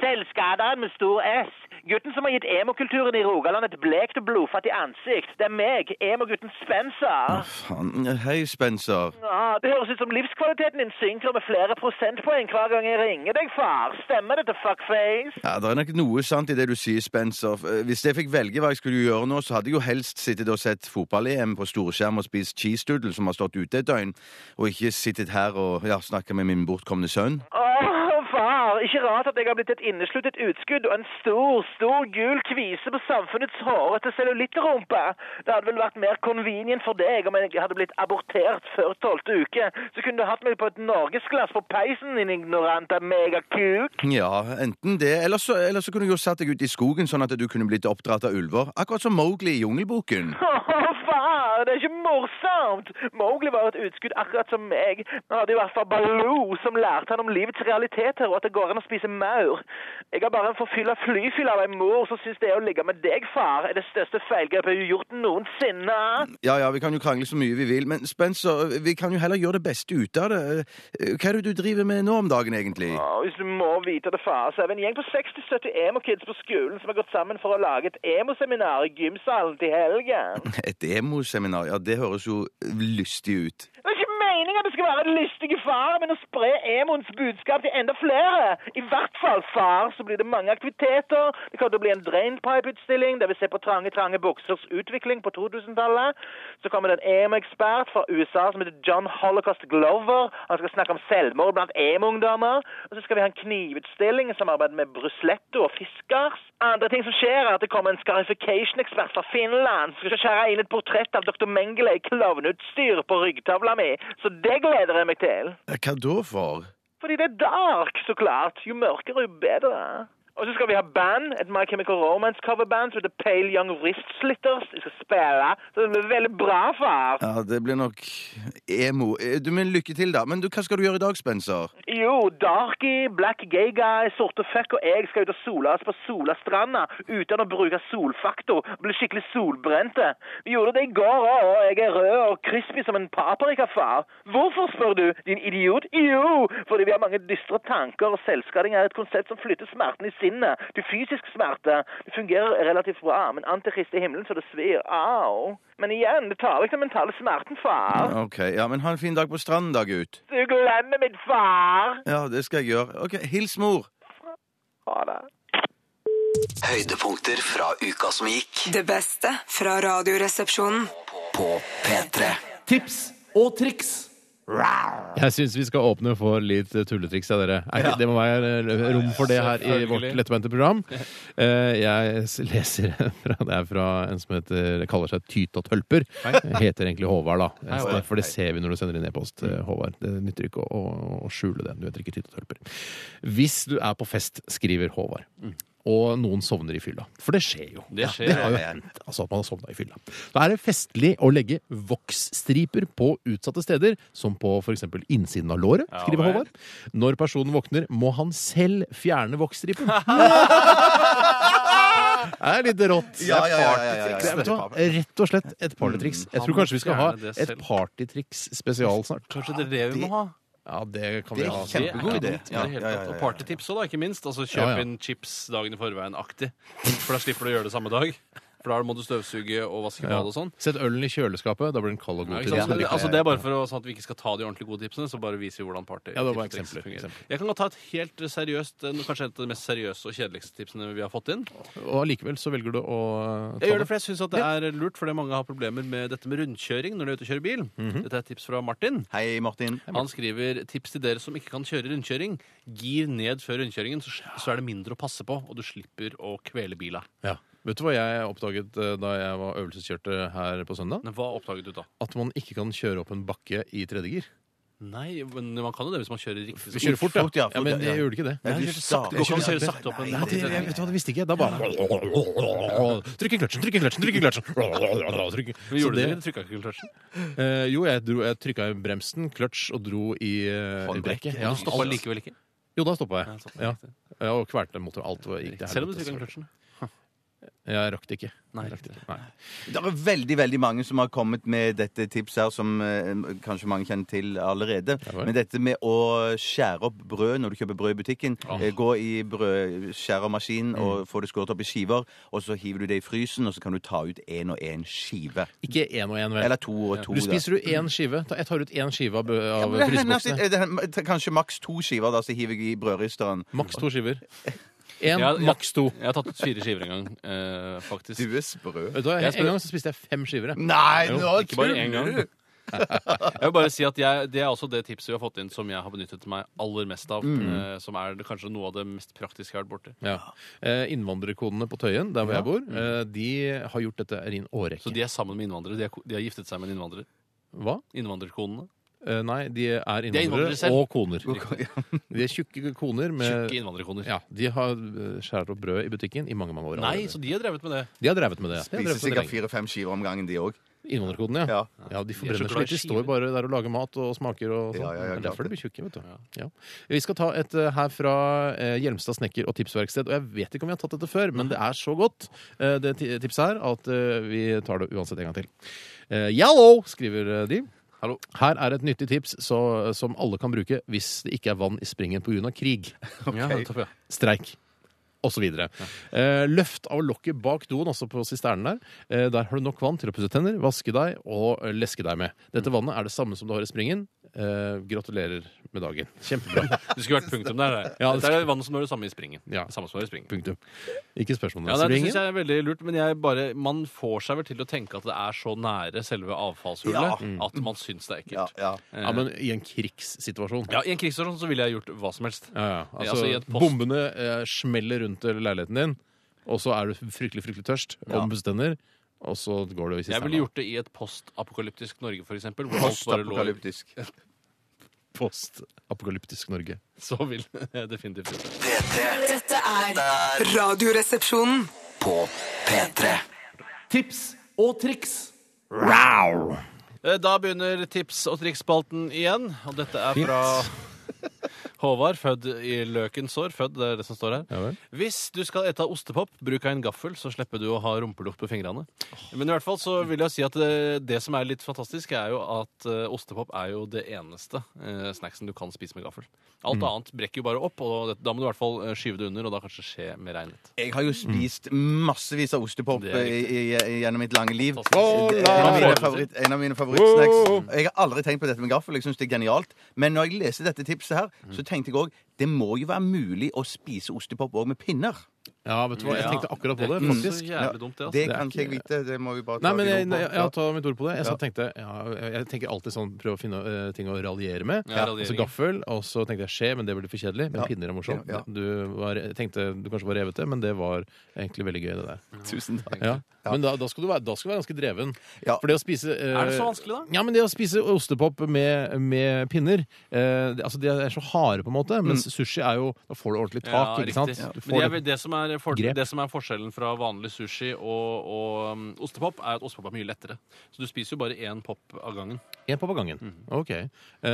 [SPEAKER 9] Selvskaderen med stor S. Gutten som har gitt emokulturen i Rogaland et blekt og blodfattig ansikt. Det er meg, emogutten Spencer.
[SPEAKER 5] Faen. Hei, Spencer.
[SPEAKER 9] Ah, det høres ut som livskvaliteten din synker med flere prosentpoeng hver gang jeg ringer deg, far. Stemmer dette, fuckface?
[SPEAKER 5] Ja, Det er nok noe sant i det du sier, Spencer. Eh, Hvis jeg fikk velge hva jeg skulle gjøre nå, så hadde jeg jo helst sittet og sett fotball-EM på storskjerm og spist cheese doodle som har stått ute et døgn, og ikke sittet her og ja, snakka med min bortkomne sønn.
[SPEAKER 9] Åh, far,
[SPEAKER 10] ikke rart at jeg har blitt et innesluttet utskudd og en stor, stor gul kvise på samfunnets hårete cellulittrumpe. Det hadde vel vært mer convenient for deg om jeg hadde blitt abortert før tolvte uke. Så kunne du hatt meg på et norgesglass på peisen, din ignorante megakuk.
[SPEAKER 5] Ja, enten det, eller så, eller så kunne du jo satt deg ut i skogen sånn at du kunne blitt oppdratt av ulver. Akkurat som Mowgli i Jungelboken.
[SPEAKER 10] Åh, far, det er ikke morsomt! Mowgli var et utskudd akkurat som meg. Han hadde i hvert fall Baloo, som lærte han om livets realiteter og at det går an å spise maur. Jeg har bare en forfylla flyfyll av ei mor som syns det å ligge med deg, far, er det største feilgrepet hun har gjort noensinne.
[SPEAKER 5] Ja, ja, vi kan jo krangle så mye vi vil, men Spencer, vi kan jo heller gjøre det beste ut av det. Eh, Hva er det du driver med nå om dagen, egentlig?
[SPEAKER 10] Åh, hvis du må vite det, far, så er vi en gjeng på 60-70 emo-kids på skolen som har gått sammen for å lage et emo-seminar i gymsalen til helgen.
[SPEAKER 5] Et demoseminar, ja, det høres jo lystig ut.
[SPEAKER 10] Det er ikke meningen at det skal være en lystig far, men å spre Emons budskap til enda flere. I hvert fall far, så blir det mange aktiviteter. Det kommer til å bli en drainpipe-utstilling der vi ser på trange, trange buksers utvikling på 2000-tallet. Så kommer det en emo-ekspert fra USA som heter John Holocaust Glover. Han skal snakke om selvmord blant emo-ungdommer. Og så skal vi ha en knivutstilling i samarbeid med Brusletto og Fiskars. Andre ting som skjer er at det kommer en scarification-ekspert fra Finland som skal skjære inn et portrett av Dr. Mengele i klovneutstyr på ryggtavla mi. Så det gleder jeg meg til.
[SPEAKER 5] Hva da for?
[SPEAKER 10] Fordi det er dark, så klart. Jo mørkere, jo bedre. Og så skal vi ha band, et My Chemical Romance-coverband som heter Pale Young Wrist Slitters. De skal spille, så det blir veldig bra, far.
[SPEAKER 5] Ja, det blir nok emo. Eh, Du, men lykke til, da. Men du, hva skal du gjøre i dag, Spencer?
[SPEAKER 10] Jo, darky, black gay guy, sorte fuck og jeg skal ut og sole oss på Solastranda uten å bruke solfaktor. Bli skikkelig solbrente. Vi gjorde det i går òg, og jeg er rød og crispy som en paprika, far. Hvorfor, spør du, din idiot? Jo, fordi vi har mange dystre tanker, og selvskading er et konsept som flytter smerten i sinnet til fysisk smerte. Det fungerer relativt bra, men antikrist i himmelen så det svir. Au. Men igjen, det tar vekk den mentale smerten, far.
[SPEAKER 5] Ok, ja, men ha en fin dag på stranden, da, gutt.
[SPEAKER 10] Du glemmer mitt far.
[SPEAKER 5] Ja, det skal jeg gjøre. Ok, hils mor.
[SPEAKER 10] Ha det.
[SPEAKER 2] Høydepunkter fra uka som gikk
[SPEAKER 11] Det beste fra Radioresepsjonen.
[SPEAKER 2] på P3.
[SPEAKER 3] Jeg syns vi skal åpne for litt eh, tulletriks av dere. Er ikke, Det må være eh, rom for det her i vårt
[SPEAKER 4] Selvfølgelig.
[SPEAKER 3] lettbeinte program. Eh, Jeg s- leser fra, det er fra en som heter, kaller seg Tyt og Tølper. Heter egentlig Håvard, da. Så
[SPEAKER 4] Hei, Håvard.
[SPEAKER 3] det- For det ser vi når du sender inn e-post, eh, Håvard. Det nytter ikke å, å, å skjule det. Du heter ikke Tyt og Tølper. Hvis du er på fest, skriver Håvard. Og noen sovner i fylla. For det skjer jo.
[SPEAKER 4] Mm. Det skjer,
[SPEAKER 3] det har jo hendt altså at man har sovna i fylla. Da er det festlig å legge voksstriper på utsatte steder, som på f.eks. innsiden av låret,
[SPEAKER 4] Ja,
[SPEAKER 3] skriver
[SPEAKER 4] vel.
[SPEAKER 3] Håvard. Når personen våkner, må han selv fjerne voksstripen. Det er litt rått.
[SPEAKER 5] Ja, ja, ja, ja, ja, ja.
[SPEAKER 3] Det er, vet du hva, rett og slett et partytriks. Jeg tror kanskje vi skal ha
[SPEAKER 4] Mm, Han må fjerne det
[SPEAKER 3] et
[SPEAKER 4] selv.
[SPEAKER 3] partytriks spesial snart.
[SPEAKER 4] Kanskje det er det vi må ha?
[SPEAKER 3] Ja, det kan
[SPEAKER 5] Det
[SPEAKER 3] vi
[SPEAKER 5] er
[SPEAKER 3] ha.
[SPEAKER 5] kjempe- Kjempegod idé.
[SPEAKER 4] Ja, ja, ja, Og partytips òg, da, ikke minst. Altså, Kjøp
[SPEAKER 3] Ja, ja.
[SPEAKER 4] inn chips dagen i forveien-aktig. For da slipper du å gjøre det samme dag. For da må du støvsuge og vaske badet og sånn.
[SPEAKER 3] Sett ølen i kjøleskapet. Da blir den kald og
[SPEAKER 4] Ja,
[SPEAKER 3] god.
[SPEAKER 4] ikke
[SPEAKER 3] til
[SPEAKER 4] sant? Så
[SPEAKER 3] den.
[SPEAKER 4] det, altså, det er bare for å, sånn at vi ikke skal ta de ordentlig gode tipsene, så bare viser vi hvordan party
[SPEAKER 3] Ja, det var
[SPEAKER 4] tipstriks
[SPEAKER 3] eksempler,
[SPEAKER 4] fungerer.
[SPEAKER 3] eksempler.
[SPEAKER 4] Jeg kan godt ta et helt seriøst eh, Kanskje et av de mest seriøse og kjedeligste tipsene vi har fått inn.
[SPEAKER 3] Og allikevel så velger du å eh, ta
[SPEAKER 4] Jeg gjør det fordi jeg syns det er lurt, fordi mange har problemer med dette med rundkjøring når de er ute og kjører bil.
[SPEAKER 3] Mhm.
[SPEAKER 4] Dette er et tips fra Martin.
[SPEAKER 5] Hei, Martin.
[SPEAKER 4] Han skriver tips til dere som ikke kan kjøre rundkjøring. Gir ned før rundkjøringen, så, så er det mindre å passe på, og du slipper å kvele bila.
[SPEAKER 3] Ja. Vet du hva jeg oppdaget eh, da jeg var øvelseskjørte her på søndag?
[SPEAKER 4] Men hva oppdaget du da?
[SPEAKER 3] At man ikke kan kjøre opp en bakke i tredje gir.
[SPEAKER 4] Nei, men man kan jo det hvis man kjører riktig.
[SPEAKER 3] Vi kjører fort, ja.
[SPEAKER 5] Fort, ja, fort,
[SPEAKER 3] ja men
[SPEAKER 5] ja.
[SPEAKER 3] jeg gjorde ikke det.
[SPEAKER 5] Nei,
[SPEAKER 4] du
[SPEAKER 5] du
[SPEAKER 4] kjører sakte.
[SPEAKER 5] starter-
[SPEAKER 4] Går
[SPEAKER 5] Jeg
[SPEAKER 4] ikke an å kjøre
[SPEAKER 5] kjører-
[SPEAKER 4] sakte opp en
[SPEAKER 3] Nei, det, jeg, vet du hva, det visste ikke jeg. Da bare Trykk i kløtsjen, trykk i kløtsjen, trykk i kløtsjen! Trykk.
[SPEAKER 4] Vi
[SPEAKER 3] Så
[SPEAKER 4] gjorde det,
[SPEAKER 3] det,
[SPEAKER 4] det trykka ikke kløtsjen.
[SPEAKER 3] eh, jo, jeg, dro- jeg trykka i bremsen, kløtsj, og dro i eh, brekket. Ja,
[SPEAKER 4] Stoppa
[SPEAKER 3] alt.
[SPEAKER 4] likevel ikke. sånn.
[SPEAKER 3] Jo, da stoppa jeg.
[SPEAKER 4] stoppet
[SPEAKER 3] Ja. Ja, og kvelte motoren. Alt var- gikk til
[SPEAKER 4] Selv om du
[SPEAKER 3] helvete, selvfølgelig.
[SPEAKER 4] trykka kløtsjen.
[SPEAKER 3] Jeg rakk det ikke.
[SPEAKER 4] Nei,
[SPEAKER 3] Jeg rakk det ikke. Nei.
[SPEAKER 5] Det er veldig veldig mange som har kommet med dette tipset her, som eh, kanskje mange kjenner til allerede.
[SPEAKER 3] vel.
[SPEAKER 5] Men dette med å skjære opp brød når du kjøper brød i butikken. eh, Gå i brødskjærermaskin
[SPEAKER 3] Mm.
[SPEAKER 5] og få det skåret opp i skiver. Og så hiver du det i frysen, og så kan du ta ut én og én skive.
[SPEAKER 3] Ikke én og én, vel.
[SPEAKER 5] Eller to og to.
[SPEAKER 3] Du
[SPEAKER 5] da.
[SPEAKER 3] spiser du én skive. Ta- Jeg tar ut én skive av, bø-
[SPEAKER 5] Ja,
[SPEAKER 3] av
[SPEAKER 5] men det altså. hender at
[SPEAKER 3] fryseboksene.
[SPEAKER 5] det- det er Kanskje maks to skiver, da, så hiver jeg i brødristeren.
[SPEAKER 3] Maks to skiver. Én,
[SPEAKER 4] Ja, ja.
[SPEAKER 3] maks to.
[SPEAKER 4] Jeg har tatt ut fire skiver en gang, eh, faktisk.
[SPEAKER 5] Du er sprø.
[SPEAKER 3] Vet du hva,
[SPEAKER 4] Jeg
[SPEAKER 3] En gang så spiste jeg fem skiver. jeg.
[SPEAKER 5] Nei,
[SPEAKER 3] Jo,
[SPEAKER 5] nå
[SPEAKER 4] ikke bare en
[SPEAKER 5] tuller
[SPEAKER 4] gang.
[SPEAKER 5] du!
[SPEAKER 4] Jeg vil bare si at jeg, Det er også det tipset vi har fått inn som jeg har benyttet meg aller mest av.
[SPEAKER 3] Mm.
[SPEAKER 4] eh, Som er det, kanskje noe av det mest praktiske jeg har vært borti.
[SPEAKER 3] Ja. Eh, Innvandrerkonene på Tøyen, der hvor jeg bor, eh, de har gjort dette i en
[SPEAKER 4] Mm. Så
[SPEAKER 3] årrekke.
[SPEAKER 4] de er sammen med innvandrere? De, er, ko- de har giftet seg med en innvandrer?
[SPEAKER 3] Hva?
[SPEAKER 4] Innvandrerkonene?
[SPEAKER 3] Eh, Nei, de er innvandrere,
[SPEAKER 4] innvandrere selv.
[SPEAKER 3] og koner. De er tjukke koner med
[SPEAKER 4] Tjukke innvandrerkoner.
[SPEAKER 3] ja, De har eh, skåret opp brød i butikken i mange mange år.
[SPEAKER 4] Nei,
[SPEAKER 3] allerede.
[SPEAKER 4] så de har drevet med det.
[SPEAKER 3] De har drevet med det. De har
[SPEAKER 5] Spiser
[SPEAKER 3] drevet med det
[SPEAKER 5] sikkert
[SPEAKER 3] lenge.
[SPEAKER 5] fire-fem skiver om gangen, de òg.
[SPEAKER 3] Innvandrerkoden, ja.
[SPEAKER 5] Ja.
[SPEAKER 3] ja. De
[SPEAKER 4] De er så
[SPEAKER 3] forbrenner
[SPEAKER 4] glad i
[SPEAKER 3] seg litt. De
[SPEAKER 4] skiver.
[SPEAKER 3] står bare der og lager mat og smaker og sånn.
[SPEAKER 5] Ja, ja, ja,
[SPEAKER 3] Det er derfor
[SPEAKER 5] klart.
[SPEAKER 3] de blir tjukke, vet du. Ja. Vi skal ta et eh, her fra eh, Hjelmstad snekker og tipsverksted. Og jeg vet ikke om vi har tatt dette før, men det er så godt, eh, det ti- tipset her, at eh, vi tar det uansett en gang til. Eh, Yallo, skriver eh, de. Hallo. Her er et nyttig tips så, som alle kan bruke hvis det ikke er vann i springen pga. krig,
[SPEAKER 4] Ja, nettopp, ja.
[SPEAKER 3] streik osv. Eh, løft av lokket bak doen, altså på sisternen der. Eh, der har du nok vann til å pusse tenner, vaske deg og eh, leske deg med. Dette vannet er det samme som du har i springen. Eh, gratulerer med dagen. Kjempebra.
[SPEAKER 4] Det skulle vært punktum der. der.
[SPEAKER 3] Ja, det
[SPEAKER 4] det er vann som er det samme i springen.
[SPEAKER 3] Ja.
[SPEAKER 4] Det samme som er i springen.
[SPEAKER 3] Punktum. Ikke spørsmål om
[SPEAKER 4] Ja,
[SPEAKER 3] det.
[SPEAKER 4] nei, det
[SPEAKER 3] Springen?
[SPEAKER 4] syns jeg er veldig lurt, men jeg bare, man får seg vel til å tenke at det er så nære selve
[SPEAKER 5] Ja.
[SPEAKER 4] avfallshullet at man syns det er
[SPEAKER 5] Ja,
[SPEAKER 4] ekkelt.
[SPEAKER 5] ja.
[SPEAKER 3] Mm.
[SPEAKER 4] Eh,
[SPEAKER 3] Ja, men i en krigssituasjon.
[SPEAKER 4] ja, I en krigssituasjon så ville jeg gjort hva som helst.
[SPEAKER 3] Ja, ja. Altså,
[SPEAKER 4] Altså, i et post-
[SPEAKER 3] bombene eh, smeller rundt leiligheten din, og så er du fryktelig, fryktelig tørst, og må pusse tenner, og så går du i
[SPEAKER 4] Jeg
[SPEAKER 3] sisterna.
[SPEAKER 4] ville gjort det i et postapokalyptisk Norge, for eksempel. Hvor alt bare lå
[SPEAKER 5] Postapokalyptisk.
[SPEAKER 3] post-apokalyptisk Norge.
[SPEAKER 4] Så vil jeg definitivt gjort det.
[SPEAKER 12] P3
[SPEAKER 2] Dette er Radioresepsjonen.
[SPEAKER 12] på P3.
[SPEAKER 4] Eh, Da begynner tips- og triksspalten igjen, og dette er fra Håvard, født i løkens år. Født, det er det som står her.
[SPEAKER 3] Ja vel.
[SPEAKER 4] Hvis du skal ete ostepop, bruk en gaffel, så slipper du å ha rumpelukt på fingrene. Men i hvert fall så vil jeg si at det, det som er litt fantastisk, er jo at eh, ostepop er jo det eneste eh, snacksen du kan spise med gaffel.
[SPEAKER 3] Mm.
[SPEAKER 4] Alt annet brekker jo bare opp, og det, da må du i hvert fall eh, skyve det under, og da kanskje skje med regnet.
[SPEAKER 5] Jeg har jo spist massevis av ostepop
[SPEAKER 4] Det er riktig.
[SPEAKER 5] i- i- gjennom mitt lange liv. Det er
[SPEAKER 4] Fantastisk.
[SPEAKER 5] en, av mine
[SPEAKER 4] Skål!
[SPEAKER 5] favoritt, en av mine favorittsnacks. Jeg har aldri tenkt på dette med gaffel. Jeg synes det er genialt. Men når jeg leste dette tipset her, så tenkte jeg òg det må jo være mulig å spise ostepop òg med pinner.
[SPEAKER 3] Ja, vet du hva, jeg
[SPEAKER 4] Ja,
[SPEAKER 3] tenkte akkurat på det,
[SPEAKER 4] ikke
[SPEAKER 3] faktisk.
[SPEAKER 4] Så jævlig dumt, det, altså.
[SPEAKER 5] Det
[SPEAKER 3] Det er
[SPEAKER 5] kan ikke jeg
[SPEAKER 3] ikke-
[SPEAKER 5] vite. Det må vi bare ta
[SPEAKER 3] Nei, men jeg,
[SPEAKER 5] videre
[SPEAKER 3] jeg,
[SPEAKER 5] på.
[SPEAKER 3] jeg tar mitt ord på det. Jeg, så
[SPEAKER 5] Ja.
[SPEAKER 3] tenkte, ja, jeg- jeg tenker alltid sånn, prøv å finne eh, ting å raljere med.
[SPEAKER 4] Ja,
[SPEAKER 3] altså
[SPEAKER 4] raljeringer.
[SPEAKER 3] gaffel, og så tenkte jeg skje, men det blir for kjedelig. Men
[SPEAKER 5] Ja.
[SPEAKER 3] pinner er morsomt.
[SPEAKER 5] Ja, ja.
[SPEAKER 3] Du var, jeg tenkte du kanskje var revete, men det var egentlig veldig gøy, det der.
[SPEAKER 5] Tusen takk.
[SPEAKER 3] Ja. Men da, da, skal du være, da skal du være ganske dreven.
[SPEAKER 5] Ja.
[SPEAKER 3] For det å spise eh,
[SPEAKER 4] Er det så vanskelig, da?
[SPEAKER 3] Ja, men det å spise ostepop med, med pinner eh, det, Altså, de er så harde, på en måte, mens sushi er jo Da får du ordentlig tak,
[SPEAKER 4] Mm. Ja,
[SPEAKER 3] ikke sant?
[SPEAKER 4] riktig.
[SPEAKER 3] Du
[SPEAKER 4] Men
[SPEAKER 3] får
[SPEAKER 4] jeg, vil- det, som er for,
[SPEAKER 3] grep.
[SPEAKER 4] det som er forskjellen fra vanlig sushi og, og um, ostepop, er at ostepop er mye lettere. Så du spiser jo bare én pop av gangen.
[SPEAKER 3] En pop av gangen.
[SPEAKER 4] Mm.
[SPEAKER 3] OK. Eh,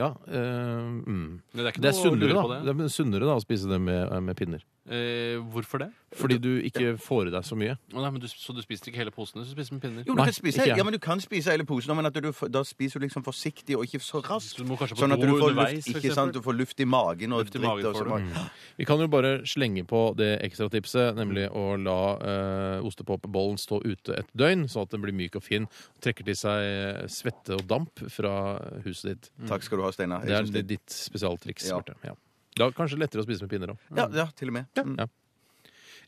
[SPEAKER 3] ja. eh, mm.
[SPEAKER 4] Men det er ikke
[SPEAKER 3] Det er
[SPEAKER 4] noe å
[SPEAKER 3] sunnere,
[SPEAKER 4] lure
[SPEAKER 3] da.
[SPEAKER 4] på
[SPEAKER 3] Det er sunnere da, å spise det med, med pinner.
[SPEAKER 4] Eh, hvorfor det?
[SPEAKER 3] Fordi du ikke får i deg så mye.
[SPEAKER 4] Å, nei, men du, så du spiser ikke hele posene, så du spiser med pinner?
[SPEAKER 5] Jo, du
[SPEAKER 3] Nei,
[SPEAKER 5] kan spise,
[SPEAKER 3] ikke jeg.
[SPEAKER 5] ja, men du kan spise hele posen, men at du, da spiser du liksom forsiktig og ikke så raskt.
[SPEAKER 4] Så du må kanskje på
[SPEAKER 5] Sånn at
[SPEAKER 4] do
[SPEAKER 5] du får,
[SPEAKER 4] underveis,
[SPEAKER 5] luft,
[SPEAKER 4] for
[SPEAKER 5] ikke sant?
[SPEAKER 4] eksempel.
[SPEAKER 5] du får luft i magen og
[SPEAKER 4] Luft i
[SPEAKER 5] dritt.
[SPEAKER 4] magen
[SPEAKER 5] og sånn. så
[SPEAKER 4] får du.
[SPEAKER 5] må-
[SPEAKER 3] Vi kan jo bare slenge på det ekstra tipset, nemlig å la eh, ostepopbollen stå ute et døgn, sånn at den blir myk og fin. Trekker til seg eh, svette og damp fra huset ditt.
[SPEAKER 4] Mm.
[SPEAKER 5] Takk skal du ha, Steinar.
[SPEAKER 3] Det
[SPEAKER 5] Jeg
[SPEAKER 3] er
[SPEAKER 5] synes det-
[SPEAKER 3] ditt spesialtriks.
[SPEAKER 5] Ja.
[SPEAKER 3] Bjarte. Ja. Det er kanskje lettere å spise med pinner òg.
[SPEAKER 5] Ja, ja, til og med. Mm.
[SPEAKER 3] Ja.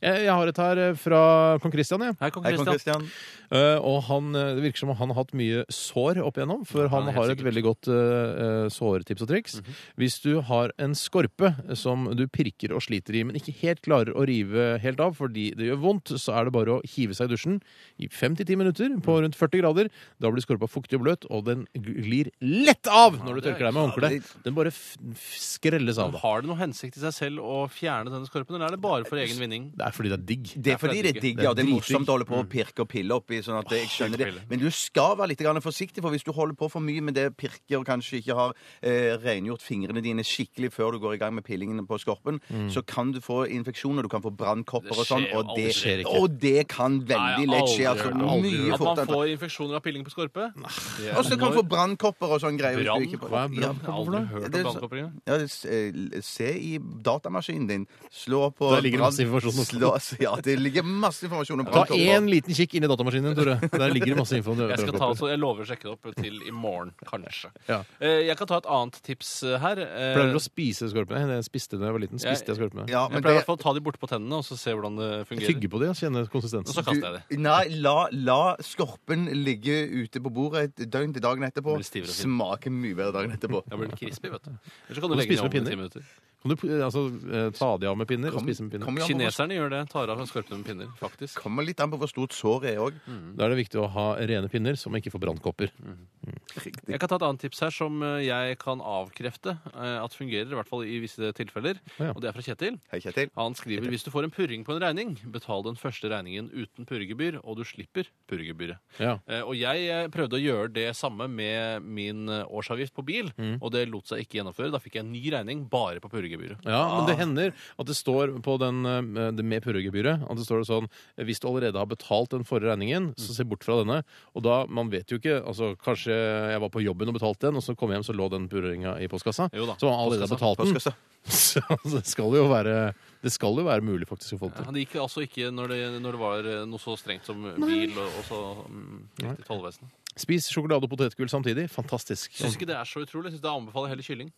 [SPEAKER 3] Jeg, jeg har et her eh, fra kong Christian. Jeg.
[SPEAKER 4] Hei, kong
[SPEAKER 5] Hei, kong
[SPEAKER 4] Christian.
[SPEAKER 5] Christian.
[SPEAKER 3] Eh, og han, eh, det virker som om han har hatt mye sår opp igjennom, for han
[SPEAKER 4] helt
[SPEAKER 3] har et
[SPEAKER 4] sikkert. Mhm.
[SPEAKER 3] veldig godt eh, eh, sårtips og triks. Hvis du har en skorpe som du pirker og sliter i, men ikke helt klarer å rive helt av fordi det gjør vondt, så er det bare å hive seg i dusjen i 5-10 minutter på
[SPEAKER 4] Mhm.
[SPEAKER 3] rundt 40 grader. Da blir skorpa fuktig og bløt, og den glir lett av når du
[SPEAKER 4] det er
[SPEAKER 3] tørker deg med håndkle. Den bare f f skrelles av.
[SPEAKER 4] Men
[SPEAKER 3] Da.
[SPEAKER 4] Har det noen hensikt i seg selv å fjerne denne skorpen, eller er det bare for egen vinning?
[SPEAKER 3] Det er fordi det er digg.
[SPEAKER 5] Det er fordi det er digg, ja. Det er
[SPEAKER 3] dritdigg.
[SPEAKER 5] morsomt å holde på å
[SPEAKER 4] Mm.
[SPEAKER 5] pirke og pille oppi. Sånn at jeg skjønner det.
[SPEAKER 4] pirkepille.
[SPEAKER 5] Men du skal være litt grann forsiktig, for hvis du holder på for mye med det pirket og kanskje ikke har eh, rengjort fingrene dine skikkelig før du går i gang med pillingen på skorpen, så kan du få infeksjoner, du kan få brannkopper
[SPEAKER 4] Mm. Det
[SPEAKER 5] og sånn.
[SPEAKER 4] skjer
[SPEAKER 5] Og det,
[SPEAKER 4] aldri. Det skjer ikke.
[SPEAKER 5] og det kan veldig
[SPEAKER 4] Nei,
[SPEAKER 5] lett skje.
[SPEAKER 4] aldri
[SPEAKER 5] Altså,
[SPEAKER 4] hørt om.
[SPEAKER 5] mye
[SPEAKER 4] At man
[SPEAKER 5] fortere.
[SPEAKER 4] får infeksjoner av pilling på skorpe? Det er-
[SPEAKER 5] Og så kan du få brannkopper og sånn greier. hvis du
[SPEAKER 4] Brann?
[SPEAKER 5] ikke-
[SPEAKER 4] Hva er brann?
[SPEAKER 5] Ja.
[SPEAKER 4] Jeg har aldri hørt om
[SPEAKER 5] Det er så-
[SPEAKER 4] brannkopper engang.
[SPEAKER 5] Ja, det- eh, se i datamaskinen din. Slå på
[SPEAKER 3] Der ligger det masse
[SPEAKER 5] brann-
[SPEAKER 3] informasjon og
[SPEAKER 5] Slås. Ja, det ligger masse informasjon om
[SPEAKER 3] Ta
[SPEAKER 5] Brannkopper.
[SPEAKER 3] én liten kikk inn i datamaskinen, Tore. Der ligger det masse info. om
[SPEAKER 4] Jeg, skal ta,
[SPEAKER 3] brannkopper.
[SPEAKER 4] så jeg lover å sjekke det opp til i morgen, kanskje.
[SPEAKER 3] Ja.
[SPEAKER 4] Eh, Jeg kan ta et annet tips eh, her. Eh,
[SPEAKER 3] Pleier dere å spise skorpene? Nei, Jeg spiste da jeg var liten. spiste jeg skorpene.
[SPEAKER 5] Ja,
[SPEAKER 4] Jeg
[SPEAKER 5] men
[SPEAKER 4] pleier i
[SPEAKER 5] det
[SPEAKER 4] hvert fall å ta de bortpå tennene og så se hvordan det
[SPEAKER 3] Jeg
[SPEAKER 4] fungerer.
[SPEAKER 3] Tygge på de og kjenne
[SPEAKER 4] Og
[SPEAKER 3] konsistensen.
[SPEAKER 5] Altså-
[SPEAKER 4] så kaster jeg det.
[SPEAKER 5] du, Nei, la, la skorpen ligge ute på bordet et døgn til dagen etterpå.
[SPEAKER 4] Den blir stivere og fin.
[SPEAKER 5] Smaker mye bedre dagen etterpå.
[SPEAKER 4] Da blir den crispy, vet du. Eller så kan
[SPEAKER 3] Må
[SPEAKER 4] du
[SPEAKER 3] du
[SPEAKER 4] legge
[SPEAKER 3] spise
[SPEAKER 4] den i
[SPEAKER 3] med pinner?
[SPEAKER 4] ovnen i ti minutter.
[SPEAKER 3] Kan du eh, altså, eh, ta de av med pinner og spise med pinner?
[SPEAKER 5] Kom jo an på hvor-
[SPEAKER 4] Kineserne gjør det. Tar av skorpene med pinner, faktisk.
[SPEAKER 5] kommer litt an på hvor stort såret er òg.
[SPEAKER 4] Mm.
[SPEAKER 3] Da er det viktig å ha rene pinner, som ikke får brannkopper.
[SPEAKER 4] Jeg kan ta et annet tips her som eh, jeg kan avkrefte eh, at fungerer, i hvert fall i visse tilfeller.
[SPEAKER 3] Å, ja.
[SPEAKER 4] Og det er fra Kjetil.
[SPEAKER 5] Hei, Kjetil.
[SPEAKER 4] Han skriver hvis du får en purring på en regning, betal den første regningen uten purregebyr, og du slipper purregebyret.
[SPEAKER 3] Ja.
[SPEAKER 4] Eh, Og jeg eh, prøvde å gjøre det samme med min eh, årsavgift på bil,
[SPEAKER 5] Mm.
[SPEAKER 4] og det lot seg ikke gjennomføre. Da fikk jeg en ny regning bare på purregebyret.
[SPEAKER 3] Ja, men
[SPEAKER 5] Ah.
[SPEAKER 3] det hender at det står på den, eh, det med purregebyret at det står det sånn Hvis du allerede har betalt den forrige regningen, så se bort fra denne. Og da, man vet jo ikke altså Kanskje jeg var på jobben og betalte den, og så kom jeg hjem, så lå den purringa i postkassa.
[SPEAKER 4] Jo da,
[SPEAKER 3] Så man allerede har betalt den.
[SPEAKER 5] Postkassa.
[SPEAKER 3] Så det skal jo være, det skal jo være mulig faktisk å få det
[SPEAKER 4] Ja,
[SPEAKER 3] til.
[SPEAKER 4] det gikk altså ikke når det, når det var eh, noe så strengt som bil og, og så mm, gikk til tollvesenet.
[SPEAKER 3] Spis sjokolade og potetgull samtidig. Fantastisk.
[SPEAKER 4] Syns ikke det er så utrolig. Syns det anbefaler jeg heller kylling.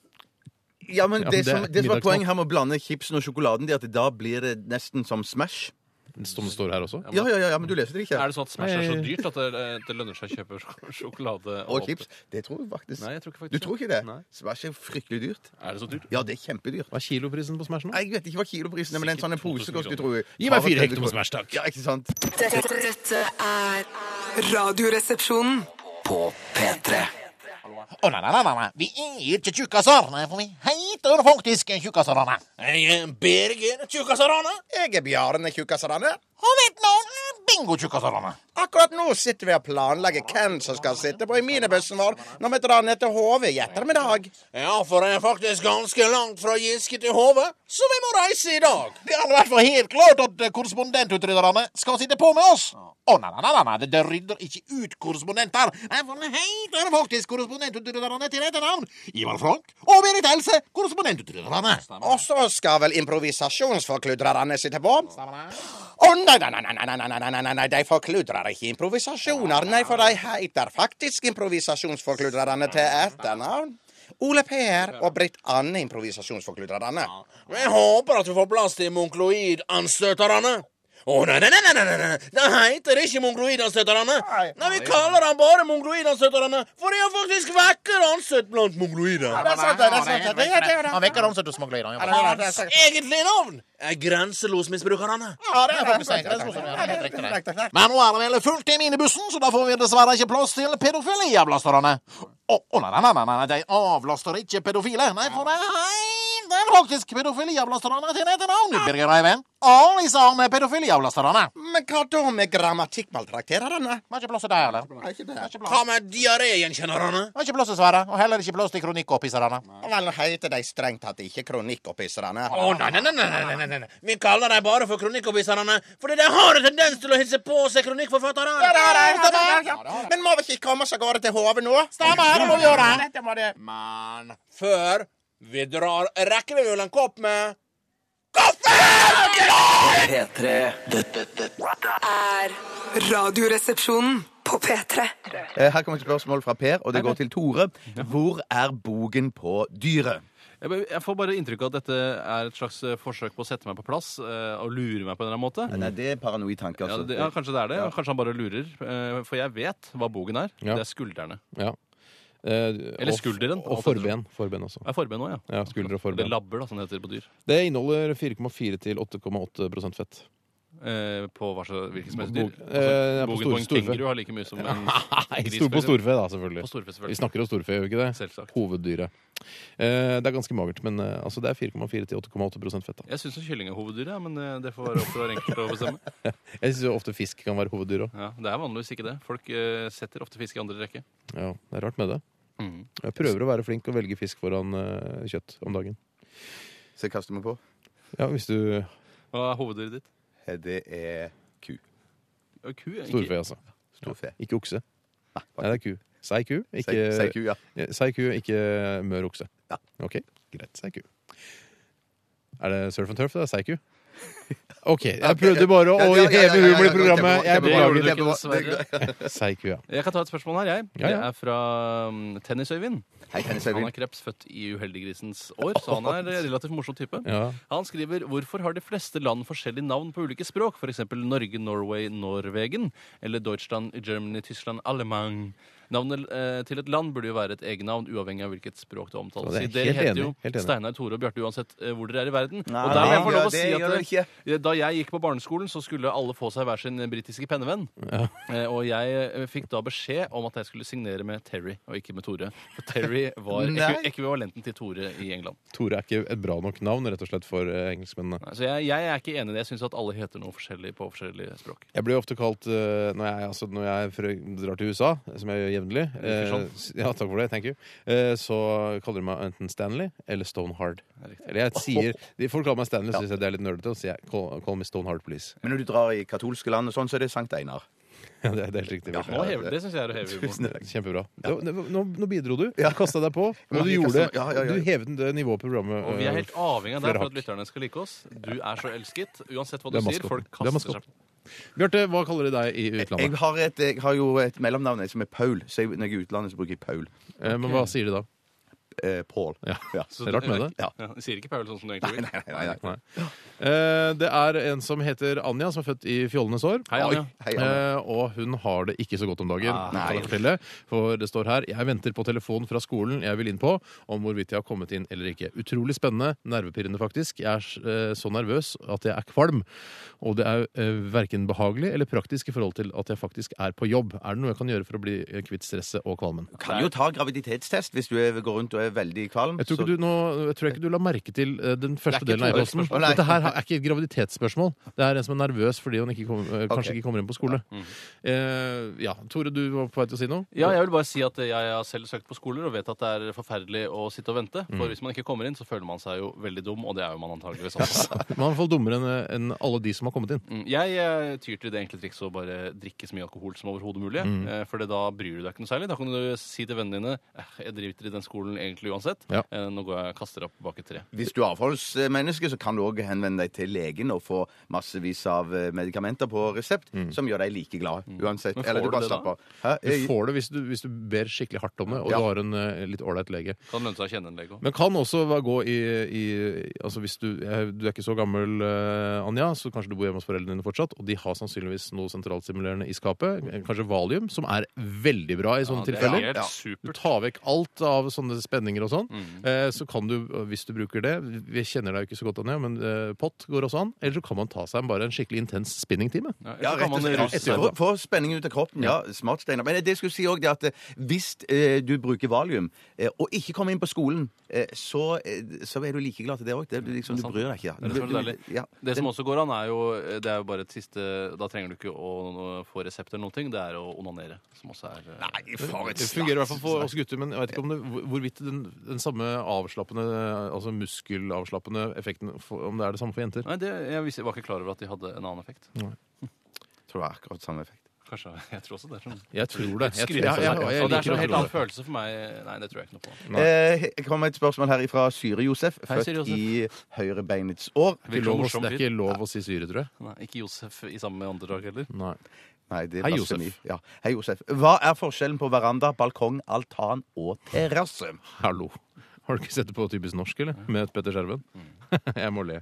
[SPEAKER 5] Ja, men
[SPEAKER 3] Ja, men
[SPEAKER 5] det,
[SPEAKER 3] det er
[SPEAKER 5] som, det som var
[SPEAKER 3] middagsmat.
[SPEAKER 5] poenget her med å blande chipsen og sjokoladen, det er at da blir det nesten som Smash.
[SPEAKER 3] Som det står her også.
[SPEAKER 5] Ja, ja, ja, ja men du leser det ikke.
[SPEAKER 4] Er det sånn at Smash er så
[SPEAKER 3] Nei.
[SPEAKER 4] dyrt at det, eh, det lønner seg å kjøpe sjok- sjokolade
[SPEAKER 5] Og chips. Det tror jeg faktisk.
[SPEAKER 4] Nei, jeg tror ikke faktisk
[SPEAKER 5] Du tror ikke det?
[SPEAKER 4] Nei.
[SPEAKER 5] Smash er fryktelig dyrt.
[SPEAKER 4] Er det så dyrt?
[SPEAKER 5] Ja, det er kjempedyrt.
[SPEAKER 3] Hva er kiloprisen på Smash nå?
[SPEAKER 5] Nei, Jeg vet ikke hva kiloprisen er, men en sånn en pose
[SPEAKER 4] Sikkert 2000
[SPEAKER 5] koster, tror jeg.
[SPEAKER 3] Gi meg fire
[SPEAKER 5] Av og
[SPEAKER 3] hekto
[SPEAKER 5] til-
[SPEAKER 3] med Smash, takk.
[SPEAKER 5] Ja, ikke sant?
[SPEAKER 2] Dette, dette er Radioresepsjonen.
[SPEAKER 12] På P3.
[SPEAKER 13] Å, nei, nei, nei, nei, nei. Vi er jo ikke tjukkaser. Nei, for vi heter jo faktisk tjukkaserne. Jeg er Birger Tjukkaserne.
[SPEAKER 14] Jeg er Bjarne Tjukkasarane.
[SPEAKER 13] Og mitt navn er Bingo Tjukkaserne.
[SPEAKER 14] Akkurat nå sitter vi og planlegger hvem som skal sitte på i minibussen vår når vi drar ned til HV i ettermiddag.
[SPEAKER 13] Ja, for jeg er faktisk ganske langt fra Giske til Hove, så vi må reise i dag. Det er i hvert fall helt klart at eh, korrespondentutrydderne skal sitte på med oss. Å, nei, nei, nei, nei, nei, det- det rydder ikke ut korrespondenter. Nei, for vi heter faktisk korrespondentutrydderne til etternavn. Ivar Frank og Berit Else, korrespondentutrydderne.
[SPEAKER 14] Og så skal vel improvisasjonsforkludrerne sitte på. Å nei, nei, nei, nei, nei, nei, nei, nei, nei, nei, nei, de forkludrer ikke improvisasjoner. Nei, for de heter faktisk improvisasjonsforkludrerne til etternavn. Ole Per og Britt Anne improvisasjonsforkludrerne.
[SPEAKER 13] Jeg håper at vi får plass til monkloidanstøterne. Å, nei, nei, nei, nei, nei, nei, nei, det heter ikke monkloidanstøterne. Nei, vi kaller dem bare monkloidanstøterne, for de er faktisk vekker anstøtt blant monkloider.
[SPEAKER 14] Det er sant, det er sant, det er det, det er det.
[SPEAKER 13] vekker anstøtt hos monkloider.
[SPEAKER 14] Ja, det er det, det er det.
[SPEAKER 13] Egentlige navn er grenselosmisbrukerne.
[SPEAKER 14] Ja, det er faktisk sant, det er
[SPEAKER 13] sånn
[SPEAKER 14] sant, det er sant. Ja, det er riktig, det.
[SPEAKER 13] Men nå er det vel fullt i minibussen, så da får vi dessverre ikke plass til pedofiliablasterne. Å, å, nei, nei, nei, nei, nei, de avlaster ikke pedofile. Nei, for det er- det er faktisk pedofiliablasterne til etternavn, Birger Eivind. Alle sammen er pedofiliablasterne.
[SPEAKER 14] Men hva da med grammatikkmaltraktererne?
[SPEAKER 13] Har ikke plass til deg, eller?
[SPEAKER 14] Er ikke det?
[SPEAKER 13] Hva med diaréenkjennerne? Har ikke plass til Sverre, og heller ikke plass til kronikkoppisserne.
[SPEAKER 14] Vel, heter de strengt tatt ikke kronikkopphisserne?
[SPEAKER 13] Å, nei, nei, nei, nei, nei, nei, nei, nei. Vi kaller dem bare for kronikkoppisserne, fordi de har en tendens til å hilse på seg kronikkforfatterne.
[SPEAKER 14] Ja, det har de, det har de, ja. Men må vi ikke komme oss av gårde til HV nå?
[SPEAKER 13] Stemmer, det må vi gjøre.
[SPEAKER 14] Dette må det.
[SPEAKER 13] Men før vi drar, rekker vi vel en kopp med kaffe!
[SPEAKER 12] P3. Dette, dette
[SPEAKER 2] Er Radioresepsjonen på P3.
[SPEAKER 5] Eh, Her kommer et spørsmål fra Per, og det går til Tore. Hvor er bogen på dyret?
[SPEAKER 4] Jeg, bare- jeg får bare inntrykk av at dette er et slags eh, forsøk på å sette meg på plass eh, og lure meg på en eller annen måte.
[SPEAKER 5] Nei, det er paranoid tanke,
[SPEAKER 4] Ja,
[SPEAKER 5] altså.
[SPEAKER 4] det, ja, kanskje det er det. Kanskje han bare lurer. eh, For jeg vet hva bogen er.
[SPEAKER 3] Ja.
[SPEAKER 4] Det er skuldrene.
[SPEAKER 3] Ja.
[SPEAKER 4] Eller skulderen.
[SPEAKER 3] Eh, Og, og forben. Forben også.
[SPEAKER 4] Det er forben òg, ja.
[SPEAKER 3] Ja, skulder og
[SPEAKER 4] Det
[SPEAKER 3] forben.
[SPEAKER 4] labber, da, som det heter på dyr.
[SPEAKER 3] Det inneholder 4,4 til 8,8 prosent fett.
[SPEAKER 4] Eh, På hva slags hvilket som helst dyr. Altså,
[SPEAKER 3] Bog- eh, på
[SPEAKER 4] bogen
[SPEAKER 3] stor-
[SPEAKER 4] på en
[SPEAKER 3] storfe.
[SPEAKER 4] kenguru har like mye som en
[SPEAKER 3] Nei, stor på
[SPEAKER 4] gris,
[SPEAKER 3] storfe, da, selvfølgelig.
[SPEAKER 4] På storfe, selvfølgelig.
[SPEAKER 3] Vi snakker om storfe, gjør vi ikke det?
[SPEAKER 4] Selvsagt.
[SPEAKER 3] Hoveddyret. Eh, det er ganske magert, men eh, altså, det er 4,4 til 8,8 prosent fett. Da.
[SPEAKER 4] Jeg syns kylling er hoveddyret, ja, men eh, det får være opp til hver enkelt å bestemme.
[SPEAKER 3] Jeg syns ofte fisk kan være hoveddyr òg.
[SPEAKER 4] Ja, det er vanligvis ikke det. Folk eh, setter ofte fisk i andre rekke.
[SPEAKER 3] Ja, det er rart med det.
[SPEAKER 4] Mm.
[SPEAKER 3] Jeg prøver å være flink og velge fisk foran eh, kjøtt om dagen.
[SPEAKER 5] Så jeg kaster meg på.
[SPEAKER 3] Ja, hvis du
[SPEAKER 4] Hva er hoveddyret ditt?
[SPEAKER 5] Eh, Det er ku.
[SPEAKER 4] Ja, Ku? ja, ikke-
[SPEAKER 3] Storfe, altså.
[SPEAKER 5] Storfe.
[SPEAKER 3] Ikke okse. Nei, det er ku. Sei ku, ikke
[SPEAKER 5] Sei- sei ku, ja.
[SPEAKER 3] Ja, Sei ku, ikke mør okse.
[SPEAKER 5] Ja.
[SPEAKER 3] Ok, greit. Sei ku. Er det surf and turf? Det er sei ku. OK. Jeg prøvde bare å
[SPEAKER 5] Ja, ja, ja, ja,
[SPEAKER 3] heve
[SPEAKER 5] ja, ja,
[SPEAKER 3] humoren i
[SPEAKER 5] ja,
[SPEAKER 3] programmet. Jeg
[SPEAKER 5] kjempebra, kjempebra,
[SPEAKER 3] beklager.
[SPEAKER 5] kjempebra.
[SPEAKER 3] Seig kua.
[SPEAKER 4] Jeg kan ta et spørsmål her, jeg.
[SPEAKER 3] Ja, ja.
[SPEAKER 4] Det er fra um, Tennisøyvind.
[SPEAKER 5] Hei, Tennis
[SPEAKER 4] Han
[SPEAKER 5] Øyvind.
[SPEAKER 4] er kreps, født i uheldiggrisens år, så han er en relativt morsom type.
[SPEAKER 3] Ja.
[SPEAKER 4] Han skriver hvorfor har de fleste land forskjellige navn på ulike språk, f.eks. Norge, Norway, Norwegen, eller Deutschland, Germany, Tyskland, Allemand. Navnet eh, til et land burde jo være et egennavn, uavhengig av hvilket språk det omtales
[SPEAKER 3] Så det
[SPEAKER 4] i.
[SPEAKER 3] er
[SPEAKER 4] Dere
[SPEAKER 3] helt
[SPEAKER 4] heter
[SPEAKER 3] enig,
[SPEAKER 4] jo
[SPEAKER 3] helt enig.
[SPEAKER 4] Steinar, Tore og Bjarte uansett eh, hvor dere er i verden.
[SPEAKER 5] Nei,
[SPEAKER 4] og der må jeg
[SPEAKER 5] det
[SPEAKER 4] få lov
[SPEAKER 5] gjør-
[SPEAKER 4] å si
[SPEAKER 5] det
[SPEAKER 4] at
[SPEAKER 5] gjør
[SPEAKER 4] eh, da jeg gikk på barneskolen, så skulle alle få seg hver sin britiske pennevenn. Eh, Og jeg eh, fikk da beskjed om at jeg skulle signere med Terry, og ikke med Tore. For Terry var
[SPEAKER 5] Nei.
[SPEAKER 4] ekvi- ekvivalenten til Tore i England.
[SPEAKER 3] Tore er ikke et bra nok navn rett og slett for eh, engelskmennene.
[SPEAKER 4] Nei, Så jeg, jeg er ikke enig i det. Jeg syns at alle heter noe forskjellig på forskjellige språk.
[SPEAKER 3] Jeg blir ofte kalt eh, når jeg, altså, når jeg frø- drar til USA, som jeg gjør jevnlig eh,
[SPEAKER 4] Sånn.
[SPEAKER 3] s- Ja, takk for det. Thank you. Eh, så kaller de meg enten Stanley eller Stonehard. Eller jeg sier, de, folk kaller meg Stanley, så syns jeg det er litt nerdete, og så sier jeg call, call me Stonehard, please.
[SPEAKER 5] Men når du drar i katolske land, og sånn, så er det Sankt Einar.
[SPEAKER 3] Ja, det, er- det er helt riktig.
[SPEAKER 4] Nå hever, det syns jeg er å heve humoren.
[SPEAKER 5] Tusen takk.
[SPEAKER 3] Kjempebra. Det- det- Nå, nå bidro du. Du kasta deg på,
[SPEAKER 5] Ja,
[SPEAKER 3] og du
[SPEAKER 5] jeg
[SPEAKER 3] gjorde
[SPEAKER 5] kastet meg- ja, ja, ja.
[SPEAKER 3] Du hevet det nivået på programmet.
[SPEAKER 4] Og vi er
[SPEAKER 3] eh,
[SPEAKER 4] helt avhengig av deg
[SPEAKER 3] flere
[SPEAKER 4] for at
[SPEAKER 3] hakk.
[SPEAKER 4] lytterne skal like oss. Du er så elsket. Uansett hva du
[SPEAKER 3] Det er
[SPEAKER 4] sier,
[SPEAKER 3] maskotten. Det er
[SPEAKER 4] folk kaster seg
[SPEAKER 3] maskotten. Bjarte, hva kaller de deg i utlandet?
[SPEAKER 5] Jeg har, et, jeg har jo et mellomnavn som er Paul, så jeg, når jeg er i utlandet, så bruker jeg Paul.
[SPEAKER 3] Eh, Men hva sier de da?
[SPEAKER 5] Eh, Paul.
[SPEAKER 3] Ja.
[SPEAKER 5] Ja.
[SPEAKER 3] Det er rart med det.
[SPEAKER 5] Ja.
[SPEAKER 4] Ja, de sier ikke Paul sånn som du egentlig vil.
[SPEAKER 5] Nei, nei, nei.
[SPEAKER 3] Nei. Eh, Det er en som heter Anja, som er født i fjollenes år.
[SPEAKER 4] Hei, Anja.
[SPEAKER 5] Hei, Anne.
[SPEAKER 3] Eh, og hun har det ikke så godt om dagen.
[SPEAKER 4] Ah,
[SPEAKER 3] kan jeg fortelle. For det står her Jeg venter på telefon fra skolen jeg vil inn på, om hvorvidt jeg har kommet inn eller ikke. Utrolig spennende. Nervepirrende, faktisk. Jeg er eh, så nervøs at jeg er kvalm. Og det er eh, verken behagelig eller praktisk i forhold til at jeg faktisk er på jobb. Er det noe jeg kan gjøre for å bli eh, kvitt stresset og kvalmen?
[SPEAKER 5] Du kan jo ta graviditetstest hvis du er, går rundt og er veldig kvalm.
[SPEAKER 3] Jeg tror, ikke
[SPEAKER 5] så-
[SPEAKER 3] du, nå, jeg tror ikke du la merke til eh, den første
[SPEAKER 5] Det er ikke
[SPEAKER 3] delen av
[SPEAKER 5] et
[SPEAKER 3] e-posten.
[SPEAKER 5] spørsmål. Å, nei.
[SPEAKER 3] Dette her er ikke et graviditetsspørsmål. Det er en som er nervøs fordi han ikke kom, eh, kanskje
[SPEAKER 5] Ok. Mm.
[SPEAKER 3] ikke kommer inn på skole. Eh, ja, Tore, du var på vei til å si noe?
[SPEAKER 4] Ja, jeg vil bare si at jeg har selv søkt på skoler og vet at det er forferdelig å sitte og vente. For hvis man ikke kommer inn, så føler man seg jo veldig dum, og det er jo man antageligvis også.
[SPEAKER 3] Man er i hvert fall dummere enn enn alle de som har kommet inn.
[SPEAKER 4] Mm, Jeg eh, tyr til det enkle trikset å bare drikke så mye alkohol som overhodet mulig.
[SPEAKER 3] Mm.
[SPEAKER 4] eh, For det- da bryr du deg ikke noe særlig. Da kan du si til vennene dine «Eh, jeg driter i den skolen egentlig uansett.
[SPEAKER 3] Ja.
[SPEAKER 4] Eh, Nå går jeg og kaster opp bak et tre.
[SPEAKER 5] Hvis du er avholdsmenneske, så kan du òg henvende deg til legen og få massevis av eh, medikamenter på resept som gjør deg like glad uansett.
[SPEAKER 4] Men får
[SPEAKER 5] Eller du
[SPEAKER 4] du
[SPEAKER 5] bare
[SPEAKER 4] det da?
[SPEAKER 5] slapper av. Hæ?
[SPEAKER 3] Du
[SPEAKER 5] Eh,
[SPEAKER 3] får det hvis du, hvis du ber skikkelig hardt om det, og
[SPEAKER 5] Ja.
[SPEAKER 3] du har en eh, litt ålreit lege.
[SPEAKER 4] Kan lønne seg å kjenne en lege òg.
[SPEAKER 3] Men kan også være- gå i, i Altså hvis du, eh, du er ikke så gammel, eh, Anja, så kanskje du bor hjemme hos foreldrene dine fortsatt, og de har sannsynligvis noe sentralstimulerende i skapet, kanskje valium, som er veldig bra i sånne
[SPEAKER 4] det er
[SPEAKER 3] tilfeller.
[SPEAKER 4] helt
[SPEAKER 5] Ja.
[SPEAKER 3] Du
[SPEAKER 4] supert.
[SPEAKER 3] tar vekk alt av sånne spenninger og sånn. Eh, så kan du, hvis du bruker det Vi kjenner deg jo ikke så godt, Anja, men eh, pott går også an. Eller så kan man ta seg en, bare en skikkelig intens spinningtime.
[SPEAKER 4] Ja, eller
[SPEAKER 5] Ja,
[SPEAKER 4] så
[SPEAKER 5] rett
[SPEAKER 4] kan
[SPEAKER 5] og
[SPEAKER 4] man
[SPEAKER 5] slett.
[SPEAKER 4] ruse
[SPEAKER 5] Ja.
[SPEAKER 4] seg.
[SPEAKER 5] Få, få spenningen ut av kroppen. Ja, smart, Steinar. Men det jeg skulle si også, det er at eh, hvis eh, du bruker valium eh, og ikke kommer inn på skolen, eh, så, eh, så er du like glad til det òg. Liksom, du
[SPEAKER 4] sant.
[SPEAKER 5] bryr deg ikke.
[SPEAKER 4] Det er det som er deilig.
[SPEAKER 5] Ja.
[SPEAKER 4] Det som også går an, er jo eh, Det er jo bare et siste Da trenger du ikke å få resept eller noen ting. Det er å onanere, som også er eh,
[SPEAKER 5] Nei, for et
[SPEAKER 3] Det fungerer i hvert fall for oss gutter, men jeg vet ikke om det, hvor- hvorvidt den, den samme avslappende, altså muskelavslappende effekten, for, om det er det samme for jenter.
[SPEAKER 4] Nei, det, jeg visste, var ikke klar over at de hadde en annen effekt.
[SPEAKER 3] Mm.
[SPEAKER 5] Tror det er akkurat samme effekt.
[SPEAKER 4] Kanskje, Jeg tror også det. er Sånn.
[SPEAKER 3] Jeg tror det. Jeg, tror,
[SPEAKER 4] Skryt.
[SPEAKER 3] jeg, jeg, jeg,
[SPEAKER 4] og det er
[SPEAKER 3] liker
[SPEAKER 4] sånn
[SPEAKER 3] å
[SPEAKER 4] helt
[SPEAKER 3] tro
[SPEAKER 4] annen
[SPEAKER 3] det.
[SPEAKER 4] følelse for meg. Nei, det tror jeg ikke noe på.
[SPEAKER 5] Eh, jeg kommer et spørsmål her fra Syre-Josef,
[SPEAKER 4] Hei,
[SPEAKER 5] født
[SPEAKER 4] Syre Josef.
[SPEAKER 5] i høyrebeinets år.
[SPEAKER 3] Det er ikke lov å- det er
[SPEAKER 4] fyr.
[SPEAKER 3] ikke lov å si syre, tror jeg.
[SPEAKER 4] Nei, ikke Josef i samme åndedrag heller.
[SPEAKER 3] Nei.
[SPEAKER 5] Nei, det er
[SPEAKER 3] Hei,
[SPEAKER 5] blasfemi.
[SPEAKER 3] Josef.
[SPEAKER 5] Ja. Hei, Josef. Hva er forskjellen på veranda, balkong, altan og terrasse?
[SPEAKER 3] Hallo. Har du ikke sett det på Typisk norsk, eller?
[SPEAKER 5] Mm.
[SPEAKER 3] Med Petter Skjerven? jeg må le.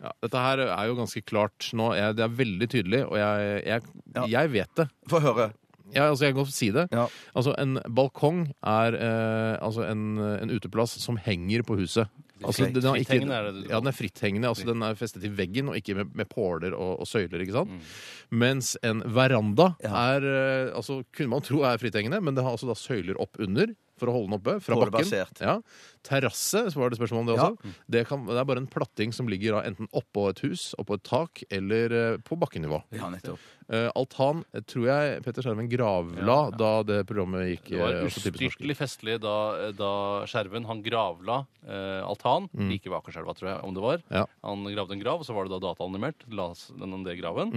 [SPEAKER 3] Ja, dette her er jo ganske klart nå. Jeg, det er veldig tydelig, og jeg, jeg,
[SPEAKER 5] Ja.
[SPEAKER 3] jeg vet det.
[SPEAKER 5] Få høre.
[SPEAKER 3] Jeg, altså, jeg kan godt si det.
[SPEAKER 5] Ja.
[SPEAKER 3] Altså, en balkong er eh, altså en, en uteplass som henger på huset. Altså,
[SPEAKER 5] Ok.
[SPEAKER 3] den, har ikke,
[SPEAKER 4] Fritthengende er det du kaller
[SPEAKER 3] ja, den er fritthengende. Altså, den er festet til veggen og ikke med, med påler og, og søyler. ikke
[SPEAKER 4] Mm.
[SPEAKER 3] sant? Mens en veranda
[SPEAKER 5] Ja.
[SPEAKER 3] er eh, altså, Kunne man tro er fritthengende, men det har altså da søyler opp under. For å holde den oppe. fra
[SPEAKER 5] Pålebasert.
[SPEAKER 3] bakken. Ja. Terrasse så var det spørsmål om det
[SPEAKER 5] Ja.
[SPEAKER 3] også. Det, kan, det er bare en platting som ligger da enten oppå et hus, oppå et tak, eller eh, på bakkenivå.
[SPEAKER 5] Ja, nettopp.
[SPEAKER 3] Eh, altan eh, tror jeg Petter Skjerven gravla da det programmet gikk.
[SPEAKER 4] Det var
[SPEAKER 3] eh, altså, typisk norsk.
[SPEAKER 4] ustyrtelig festlig da, da Skjerven han gravla eh, altan, like ved Akerselva, tror jeg, om det var.
[SPEAKER 3] Mm. Ja. Mm.
[SPEAKER 4] Han gravde en grav, og så var det da dataanimert. La s- den om det i graven.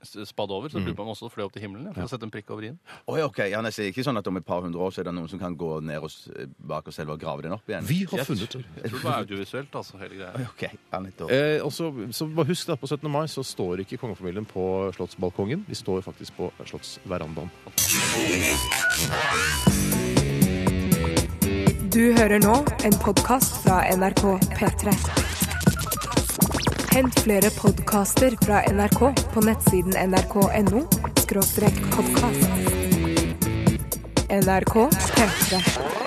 [SPEAKER 4] s- spadd over, så lurer på om han også fløy opp til himmelen ja, for å sette en prikk over i-en.
[SPEAKER 5] Oi, ok, ja, nei, så det er Ikke sånn at om et par hundre år så er det noen som kan gå ned og s- bak oss selv og grave den opp igjen?
[SPEAKER 3] Vi har funnet det.
[SPEAKER 4] Jeg tror det var audiovisuelt, altså, hele greia.
[SPEAKER 5] Ok, ja, nettopp.
[SPEAKER 3] Eh, også, så bare husk at på 17. mai så står ikke kongefamilien på slottsbalkongen. De står faktisk på slottsverandaen.
[SPEAKER 1] Du hører nå en podkast fra NRK P3. Hent flere podkaster fra NRK på nettsiden nrk.no podkast. NRK P3.